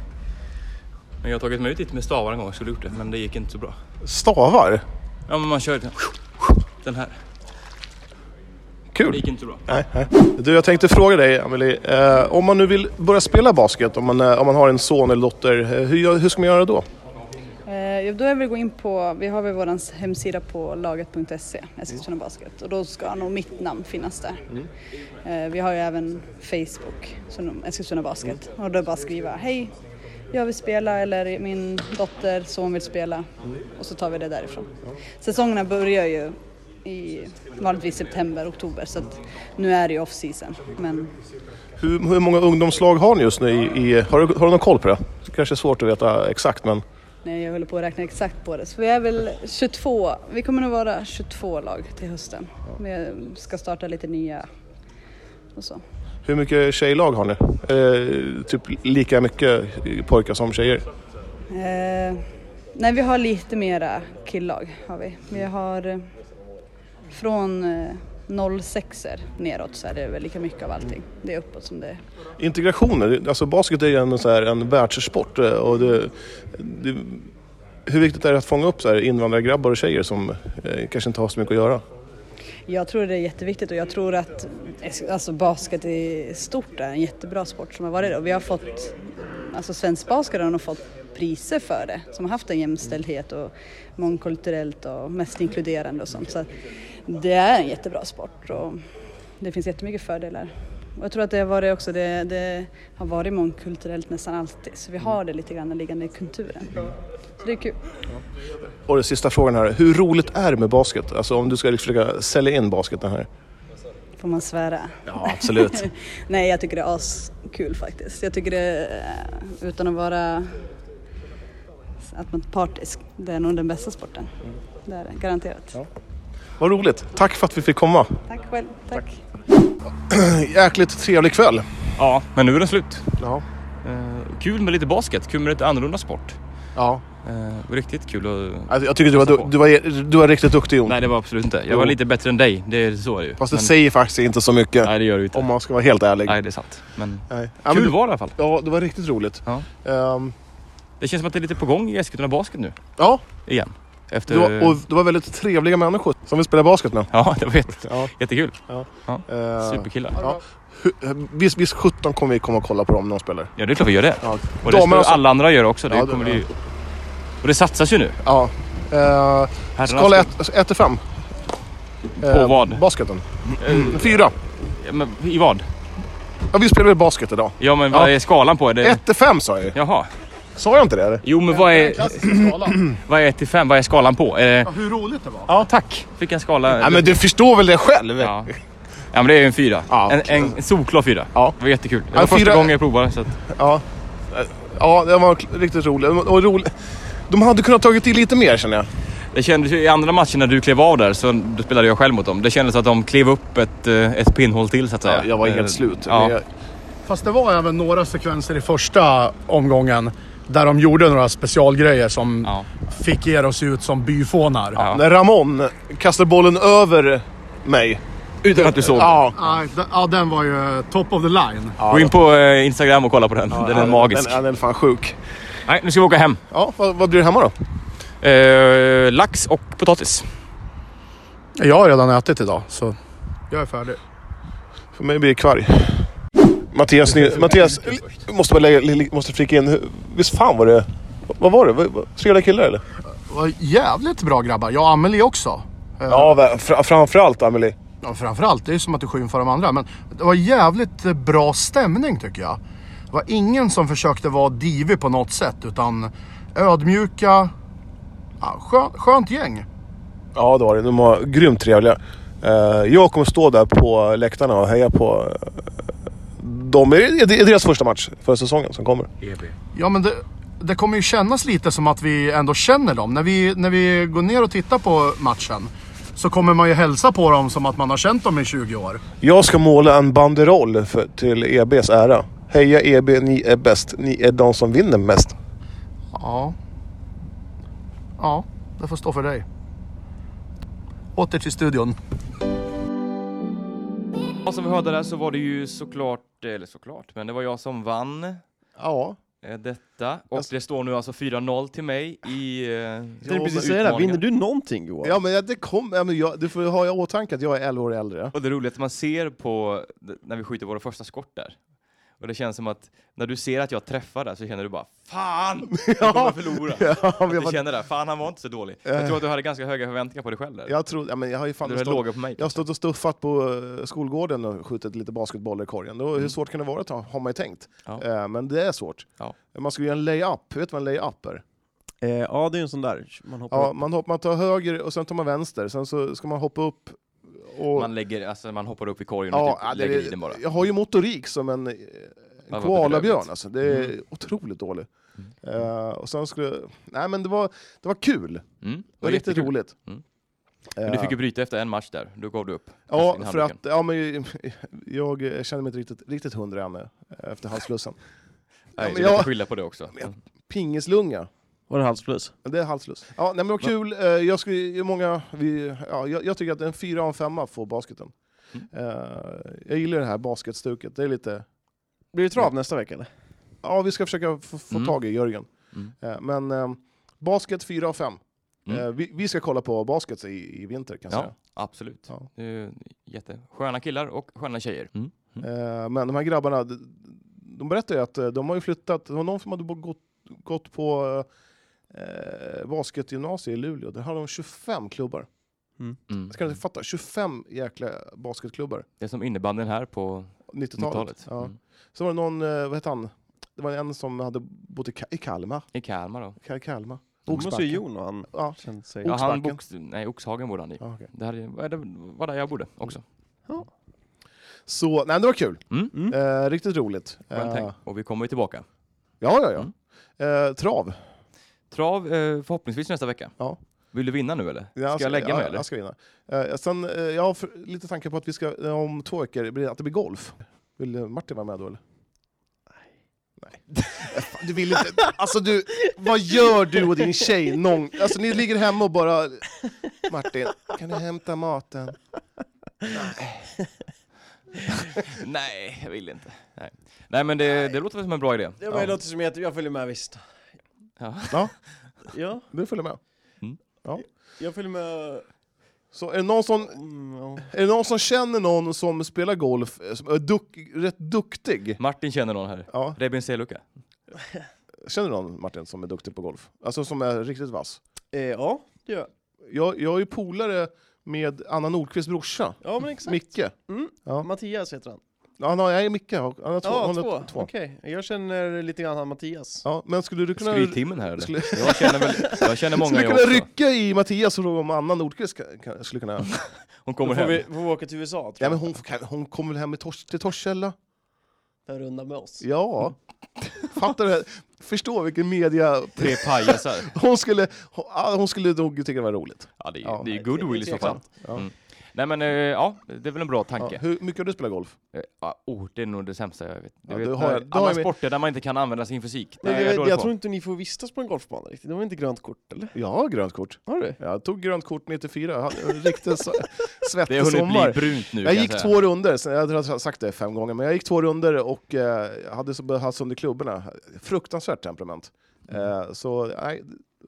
Speaker 1: Men jag har tagit mig ut dit med stavar en gång, jag skulle gjort det, men det gick inte så bra.
Speaker 2: Stavar?
Speaker 1: Ja, men man kör den här.
Speaker 2: Kul.
Speaker 1: Det gick inte bra.
Speaker 2: Nej, nej. Du, jag tänkte fråga dig, Amelie. Eh, om man nu vill börja spela basket, om man, eh, om man har en son eller dotter, eh, hur, gör- hur ska man göra då?
Speaker 8: Eh, då är vi gå in på, vi har väl vår hemsida på laget.se, Eskilstuna Basket, och då ska nog mitt namn finnas där. Eh, Vi har ju även Facebook, som Eskilstuna Basket. Och då bara skriva hej, jag vill spela eller min dotter, son vill spela. Och så tar vi det därifrån. Säsongerna börjar ju i vanligtvis september, oktober så att nu är det ju off-season. Men
Speaker 2: Hur, hur många ungdomslag har ni just nu? I, i, har, du, har du någon koll på det? Det kanske är svårt att veta exakt, men...
Speaker 8: nej, jag håller på att räkna exakt på det. Så vi är väl 22, vi kommer nog vara 22 lag till hösten. Vi ska starta lite nya och så.
Speaker 2: Hur mycket tjejlag har ni? Eh, typ lika mycket pojkar som tjejer?
Speaker 8: Eh, nej, vi har lite mera killag. Har vi. vi har eh, från eh, 06 neråt så är det väl lika mycket av allting. Det är uppåt som det är.
Speaker 2: Integrationer, alltså basket är ju en, så här, en världssport. eh, Och det, det, hur viktigt är det att fånga upp så här, invandrargrabbar och tjejer som eh, kanske inte har så mycket att göra?
Speaker 8: Jag tror det är jätteviktigt och jag tror att es- alltså, basket i stort är en jättebra sport som har varit det. Och vi har fått, alltså svensk basket har nog fått priser för det som har haft en jämställdhet och mångkulturellt och mest inkluderande och sånt. Så det är en jättebra sport och det finns jättemycket fördelar. Och jag tror att det har varit också, det, det har varit mångkulturellt nästan alltid så vi har det lite grann liggande i kulturen. Så det är kul.
Speaker 2: Och den sista frågan här, hur roligt är det med basket? Alltså om du ska liksom försöka sälja in basketen här.
Speaker 8: Får man svära?
Speaker 2: Ja, absolut.
Speaker 8: Nej, jag tycker det är askul faktiskt. Jag tycker det, eh, utan att vara att man är partisk, det är nog den bästa sporten. Det är det, garanterat.
Speaker 2: Vad roligt, tack för att vi fick komma.
Speaker 8: Tack själv, tack.
Speaker 2: Jäkligt trevlig kväll.
Speaker 1: Ja, men nu är den slut. Eh,
Speaker 2: Ja.
Speaker 1: kul med lite basket, kul med lite annorlunda sport. Eh,
Speaker 2: Ja.
Speaker 1: riktigt kul att...
Speaker 2: Alltså, jag tycker du var, du, du, var, du var riktigt duktig Jon.
Speaker 1: Nej, det var absolut inte. Jag var
Speaker 2: Jo.
Speaker 1: lite bättre än dig, det är så är det ju.
Speaker 2: Fast det
Speaker 1: Men-
Speaker 2: säger faktiskt inte så mycket.
Speaker 1: Nej, det gör det inte.
Speaker 2: Om man ska vara helt ärlig.
Speaker 1: Nej, det är sant. Men
Speaker 2: Nej.
Speaker 1: kul
Speaker 2: men du-
Speaker 1: var det i alla fall.
Speaker 2: Ja, det var riktigt roligt.
Speaker 1: Det känns som att det är lite på gång i Eskilstuna Basket nu.
Speaker 2: Ja.
Speaker 1: Igen. Efter...
Speaker 2: Det var, och det var väldigt trevliga människor som vill spela basket med.
Speaker 1: Ja, det var jätte...
Speaker 2: Ja.
Speaker 1: jättekul.
Speaker 2: Ja. Eh,
Speaker 1: Ja. Superkillar.
Speaker 2: Ja. Hu- Visst, visst 17 kommer vi komma och kolla på dem när de spelar.
Speaker 1: Ja, det är klart vi gör det.
Speaker 2: Ja.
Speaker 1: Och det
Speaker 2: Damerna
Speaker 1: ska
Speaker 2: som-
Speaker 1: alla andra göra också. Det
Speaker 2: Ja, det-
Speaker 1: kommer bli... Och det satsas ju nu.
Speaker 2: Ja. Eh, skala 1 till 5.
Speaker 1: På vad?
Speaker 2: Basketen.
Speaker 1: Mm.
Speaker 2: Fyra.
Speaker 1: Ja, men I vad?
Speaker 2: Ja, vi spelar väl basket idag.
Speaker 1: Ja, men vad
Speaker 2: Ja.
Speaker 1: är skalan på? Är det...
Speaker 2: 1 till 5 sa jag ju.
Speaker 1: Jaha.
Speaker 2: Sa jag inte det eller?
Speaker 1: Jo, men vad är... Vad är 1 till 5? Vad är skalan på? Är det...
Speaker 2: hur roligt det var.
Speaker 1: Ja, tack. Fick en skala.
Speaker 2: Ja, men du förstår väl det själv?
Speaker 1: Ja. Ja, men det är ju en fyra. en, en, en solklar fyra. Ja. Det var jättekul. Det
Speaker 2: Ja,
Speaker 1: var första
Speaker 2: fyra-
Speaker 1: gången jag provade. Så att...
Speaker 2: Ja. Ja, den var riktigt rolig. Och rolig. De hade kunnat tagit i lite mer känner jag.
Speaker 1: Det kändes ju i andra matchen när du klev av där så då spelade jag själv mot dem. Det kändes att de klev upp ett, eh, ett pinnhål till så att säga.
Speaker 7: jag var
Speaker 1: Eh,
Speaker 7: helt slut.
Speaker 1: Ja.
Speaker 7: Men jag- Fast det var även några sekvenser i första omgången där de gjorde några specialgrejer som fick er att se ut som byfånar.
Speaker 2: När Ramon kastade bollen över mig.
Speaker 1: Utan att du såg
Speaker 2: Ja.
Speaker 7: Ja, d- ja, den var ju top of the line.
Speaker 1: Gå in på eh, Instagram och kolla på den. den är
Speaker 2: den-
Speaker 1: magisk.
Speaker 2: den- den är fan sjuk.
Speaker 1: Nej, nu ska vi åka hem.
Speaker 2: Ja, vad, vad blir det hemma
Speaker 1: då? Eh, lax och potatis.
Speaker 7: Jag har redan ätit idag, så jag är färdig.
Speaker 2: För mig blir det kvarg. Mattias, ni, Mattias jag måste bara lägga, li- måste flika in. Visst fan var det... Vad var det? Vad- vad- Trevliga killar eller?
Speaker 7: Vad jävligt bra grabbar. Jag och Amelie också.
Speaker 2: Ja, va- fra- framförallt Amelie.
Speaker 7: Ja, framförallt. Det är ju som att du skymfar de andra. Men det var jävligt eh, bra stämning tycker jag. Det var ingen som försökte vara divig på något sätt. Utan ödmjuka. Ja, skönt, skönt gäng.
Speaker 2: Ja, det var det. De var grymt trevliga. Eh, Jag kommer stå där på läktarna och heja på... eh, dem. det är det är deras första match för säsongen som kommer.
Speaker 7: Ja, men det, det kommer ju kännas lite som att vi ändå känner dem. När vi, när vi går ner och tittar på matchen så kommer man ju hälsa på dem som att man har känt dem i 20 år.
Speaker 2: Jag ska måla en banderoll för, till EBs ära. Heja EB, ni är bäst. Ni är de som vinner mest.
Speaker 7: Ja. Ja, det får stå för dig. Åter till studion.
Speaker 1: Och som vi hörde där så var det ju såklart, eller såklart, men det var jag som vann.
Speaker 2: Ja.
Speaker 1: eh, detta. Och det står nu alltså 4-0 till mig i eh,
Speaker 4: tänkte precis säga det, här, vinner du någonting Johan?
Speaker 2: Ja, men jag- det kom, ja, men jag, du får ha i åtanke att jag är 11 år äldre.
Speaker 1: Och det roliga är att man ser på d- när vi skjuter våra första skott där. Och det känns som att när du ser att jag träffar där så känner du bara Fan! Jag kommer förlora!
Speaker 2: Ja,
Speaker 1: att
Speaker 2: men
Speaker 1: du
Speaker 2: jag var-
Speaker 1: känner det, fan han var inte så dålig. Jag
Speaker 2: Eh.
Speaker 1: tror att du hade ganska höga förväntningar på dig själv där.
Speaker 2: Jag tror, ja, men jag har ju fan
Speaker 1: Du är låga på mig, typ.
Speaker 2: jag har stått och stuffat på eh, skolgården och skjutit lite basketbollar i korgen. Då,
Speaker 1: Mm.
Speaker 2: Hur svårt kan det vara att ta, har man ju tänkt. Eh, men det är svårt. Man ska göra en layup, vet du vad en layup är?
Speaker 4: Eh, ja, det är ju en sån där, man hoppar
Speaker 2: Ja,
Speaker 1: Mm.
Speaker 4: upp.
Speaker 2: man, hopp, man tar höger och sen tar man vänster, sen så ska man hoppa upp och...
Speaker 1: Man, lägger, alltså, man hoppar upp i korgen
Speaker 2: Ja,
Speaker 1: och
Speaker 2: ja,
Speaker 1: typ
Speaker 2: det-
Speaker 1: lägger i den bara.
Speaker 2: Jag har ju motorik som en, eh, en
Speaker 1: vad
Speaker 2: koalabjörn
Speaker 1: bedrövligt.
Speaker 2: alltså. Det är
Speaker 1: Mm.
Speaker 2: otroligt dåligt. Eh, och sen skulle... Nej men det var, det var kul.
Speaker 1: Mm,
Speaker 2: det var riktigt
Speaker 1: jättekul.
Speaker 2: roligt.
Speaker 1: Mm. Men du fick ju bryta efter en match där, då gav du upp.
Speaker 2: Ja,
Speaker 1: Efter
Speaker 2: för att
Speaker 1: handduken.
Speaker 2: ja, men, jag känner mig inte riktigt, riktigt hundra ännu eh, efter halsflussen.
Speaker 1: Nej, du
Speaker 2: men
Speaker 1: jag...
Speaker 2: jag-
Speaker 1: skylla på det också. Mm,
Speaker 2: Pingislunga.
Speaker 4: Var det halsfluss?
Speaker 2: Det är halsfluss. Ja, nej, men vad kul. Eh, Jag, skulle, ju många, vi, ja, jag, jag tycker att en fyra av en femma får basketen.
Speaker 1: Mm.
Speaker 2: Eh, Jag gillar det här basketstuket. Det är lite...
Speaker 4: Blir det trav nästa vecka eller?
Speaker 2: Ja, vi ska försöka få, få
Speaker 1: Mm.
Speaker 2: tag i Jörgen. Eh, Men eh, basket fyra av fem. Eh, Vi, vi ska kolla på basket i, i vinter kan jag
Speaker 1: Mm. Ja,
Speaker 2: säga.
Speaker 1: absolut. Det är ju jättesköna killar och sköna tjejer.
Speaker 2: Eh, Men de här grabbarna, de- de berättar ju att eh, de har ju flyttat, det var någon som hade bo- gått, gått på eh, basketgymnasiet i Luleå, där har de 25 klubbar.
Speaker 1: Mm.
Speaker 2: Jag kan inte fatta, 25 jäkla basketklubbar.
Speaker 1: Det är som innebanden här på Mm.
Speaker 2: 90-talet.
Speaker 1: 90-talet.
Speaker 2: Ja. Så var det någon, eh, vad hette han? Det var en som hade bott i, Ka- i Kalmar.
Speaker 1: I Kalmar då?
Speaker 2: Ka- Kalmar.
Speaker 1: Det måste ju Jon
Speaker 2: Oxbacken.
Speaker 1: och han
Speaker 2: ja.
Speaker 4: känt sig-
Speaker 1: Ja, han
Speaker 2: Oxbacken.
Speaker 1: box, nej, Oxhagen bodde han i. Det, här, är- det var där jag bodde också. Mm?
Speaker 2: Så, nej men det var kul. Eh, riktigt roligt.
Speaker 1: Skönt häng. Mm.
Speaker 2: Eh,
Speaker 1: Och vi kommer ju tillbaka.
Speaker 2: Ja, ja, ja. Eh, trav.
Speaker 1: Trav eh, förhoppningsvis nästa vecka.
Speaker 2: Ja.
Speaker 1: Vill du vinna nu eller?
Speaker 2: Ja,
Speaker 1: ska jag lägga
Speaker 2: ja,
Speaker 1: mig eller?
Speaker 2: Jag ska vinna. Eh, sen, eh, jag har för, lite tankar på att vi ska, eh, om två veckor, blir- att det blir golf. Vill eh, Martin vara med då eller? Nej. Eh, Fan, Du vill inte... Alltså du, vad gör du och din tjej någon... Alltså ni ligger hemma och bara... Martin, kan du hämta maten?
Speaker 1: Nej, jag vill inte. Nej, nej men det, det låter väl som en bra idé.
Speaker 4: Ja, men det låter som jätte... Jag följer med visst.
Speaker 1: Ja.
Speaker 2: Ja,
Speaker 4: Ja,
Speaker 2: du följer med. Ja.
Speaker 4: jag följer med... mm,
Speaker 2: Så är det, någon som, är det någon som känner någon som spelar golf, eh, som är duk, rätt duktig?
Speaker 1: Martin känner någon här.
Speaker 2: Ja.
Speaker 1: Rebin Seluka.
Speaker 2: Känner du någon Martin som är duktig på golf? Alltså som är riktigt vass?
Speaker 4: Eh, ja, det gör jag.
Speaker 2: Jag, jag är ju polare med Anna Nordqvists brorsa,
Speaker 4: Ja, men exakt.
Speaker 2: Micke.
Speaker 4: Mm.
Speaker 2: Ja.
Speaker 4: Mattias heter han.
Speaker 2: Ja, han har, nej, Micke har, han har två.
Speaker 4: Ja,
Speaker 2: han
Speaker 4: två.
Speaker 2: har
Speaker 4: Okej, jag känner lite grann han Mattias.
Speaker 2: Ja, men skulle du kunna...
Speaker 1: Skryttimmen här eller?
Speaker 2: Skulle-
Speaker 1: Jag känner, väl, jag känner många
Speaker 2: Skulle du
Speaker 1: jag
Speaker 2: kunna
Speaker 1: också.
Speaker 2: rycka i Mattias och fråga om Anna Nordqvist kan, kan, skulle kunna...
Speaker 1: Hon kommer
Speaker 4: Då får
Speaker 1: hem.
Speaker 4: vi, får vi åka till USA, tror
Speaker 2: ja, men hon, får- kan, hon kommer väl hem i tors, till Torshälla?
Speaker 4: jag, för en runda med oss.
Speaker 2: Ja. Fattar du? Förstå vilken media...
Speaker 1: Tre pajasar.
Speaker 2: Hon skulle, hon, ah, hon skulle nog tycka det var roligt.
Speaker 1: Ja, det är,
Speaker 2: Ja,
Speaker 1: det är
Speaker 2: nej,
Speaker 1: goodwill i
Speaker 2: det
Speaker 1: så
Speaker 2: är
Speaker 1: fall.
Speaker 2: tveksamt. Ja.
Speaker 1: Mm. Nej men eh, ja, det är väl en bra tanke.
Speaker 2: Ja, hur mycket har du spelat golf?
Speaker 1: Eh, Ja, oh, det är nog det sämsta jag vet. Du
Speaker 2: Ja,
Speaker 1: vet
Speaker 2: du har-
Speaker 1: när-
Speaker 2: du har
Speaker 1: alla
Speaker 2: ju-
Speaker 1: sporter där man inte kan använda sin fysik.
Speaker 4: Nej,
Speaker 1: Nej, jag, är
Speaker 4: jag, jag,
Speaker 1: dålig på.
Speaker 4: tror inte ni får vistas på en golfbana riktigt, det var inte grönt kort eller?
Speaker 2: Jag har grönt kort.
Speaker 4: Har du?
Speaker 2: Jag tog grönt kort 94, jag hade en riktig so- svettig
Speaker 1: Det har hunnit
Speaker 2: sommar.
Speaker 1: bli brunt nu,
Speaker 2: jag
Speaker 1: kan
Speaker 2: gick
Speaker 1: jag säga.
Speaker 2: två runder, sen- jag har sagt det fem gånger, men jag gick två runder och eh, jag hade så behövt sönder klubborna. Fruktansvärt temperament. Eh, så nej,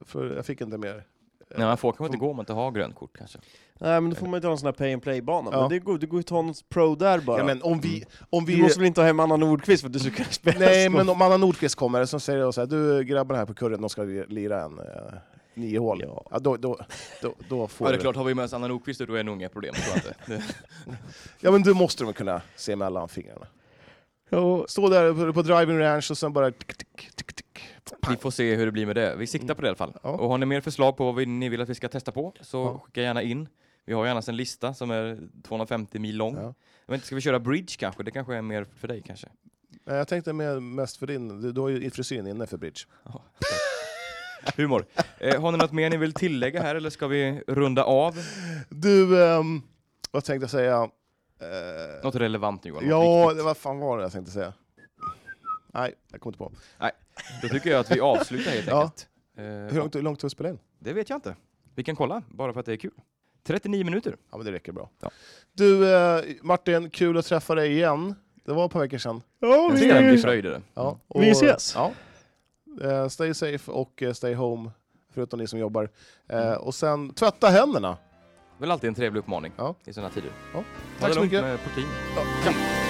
Speaker 2: för jag fick inte mer.
Speaker 1: Nej, man får kanske inte gå om man inte har grönt kort kanske.
Speaker 4: Nej men då får man ju ta någon sån här pay and play-bana,
Speaker 2: Ja.
Speaker 4: men det går, det går ju att ta något pro där bara.
Speaker 2: Ja, men om vi, om vi,
Speaker 4: Du måste väl inte ha hem Anna Nordqvist för att du ska kunna spela
Speaker 2: nej,
Speaker 4: snowboard?
Speaker 2: men om Anna Nordqvist kommer som säger så här, du grabbarna här på kurren, de ska li- lira en eh, nio hål. Ja. då, då, då, då får
Speaker 1: Ja, det är
Speaker 2: du-
Speaker 1: klart, har vi med oss Anna Nordqvist då är det nog inga problem, tror jag inte. Det-
Speaker 2: Ja men du måste de kunna se mellan fingrarna. Stå där på, på driving range och sen bara... tick, tick, tick, tick.
Speaker 1: Vi får se hur det blir med det. Vi siktar på det i alla fall. Och har ni mer förslag på vad vi- ni vill att vi ska testa på så skicka gärna in. Vi har ju annars en lista som är 250 mil lång. Jag vet inte, ska vi köra bridge kanske? Det kanske är mer för dig kanske?
Speaker 2: Nej, Eh, Jag tänkte med, mest för din, du, du har ju frisyren inne för bridge.
Speaker 1: Humor. Eh, har ni något mer ni vill tillägga här eller ska vi runda av?
Speaker 2: Du, ehm, vad tänkte jag säga? Eh,
Speaker 1: Något relevant Johan? något
Speaker 2: ja,
Speaker 1: viktigt.
Speaker 2: det, vad fan var det jag tänkte säga? Nej, jag kom inte på.
Speaker 1: Nej, då tycker jag att vi avslutar helt
Speaker 2: Ja.
Speaker 1: enkelt. Eh,
Speaker 2: Hur långt, hur långt har du spelat in?
Speaker 1: Det vet jag inte. Vi kan kolla, bara för att det är kul. 39 minuter.
Speaker 2: Ja, men det räcker bra. Du, eh, Martin, kul att träffa dig igen. Det var ett par veckor sedan.
Speaker 4: Ja,
Speaker 1: En
Speaker 2: vi-
Speaker 1: Mm. ständig fröjd är det.
Speaker 2: Ja,
Speaker 4: Vi ses.
Speaker 2: Ja, Eh, stay safe och eh, stay home, förutom ni som jobbar. Eh, Och sen tvätta händerna.
Speaker 1: Väl alltid en trevlig uppmaning i sådana tider.
Speaker 2: Ja.
Speaker 1: Ta
Speaker 2: Tack
Speaker 1: det
Speaker 2: så
Speaker 1: lugnt
Speaker 2: mycket.
Speaker 1: med protein.
Speaker 2: Ja.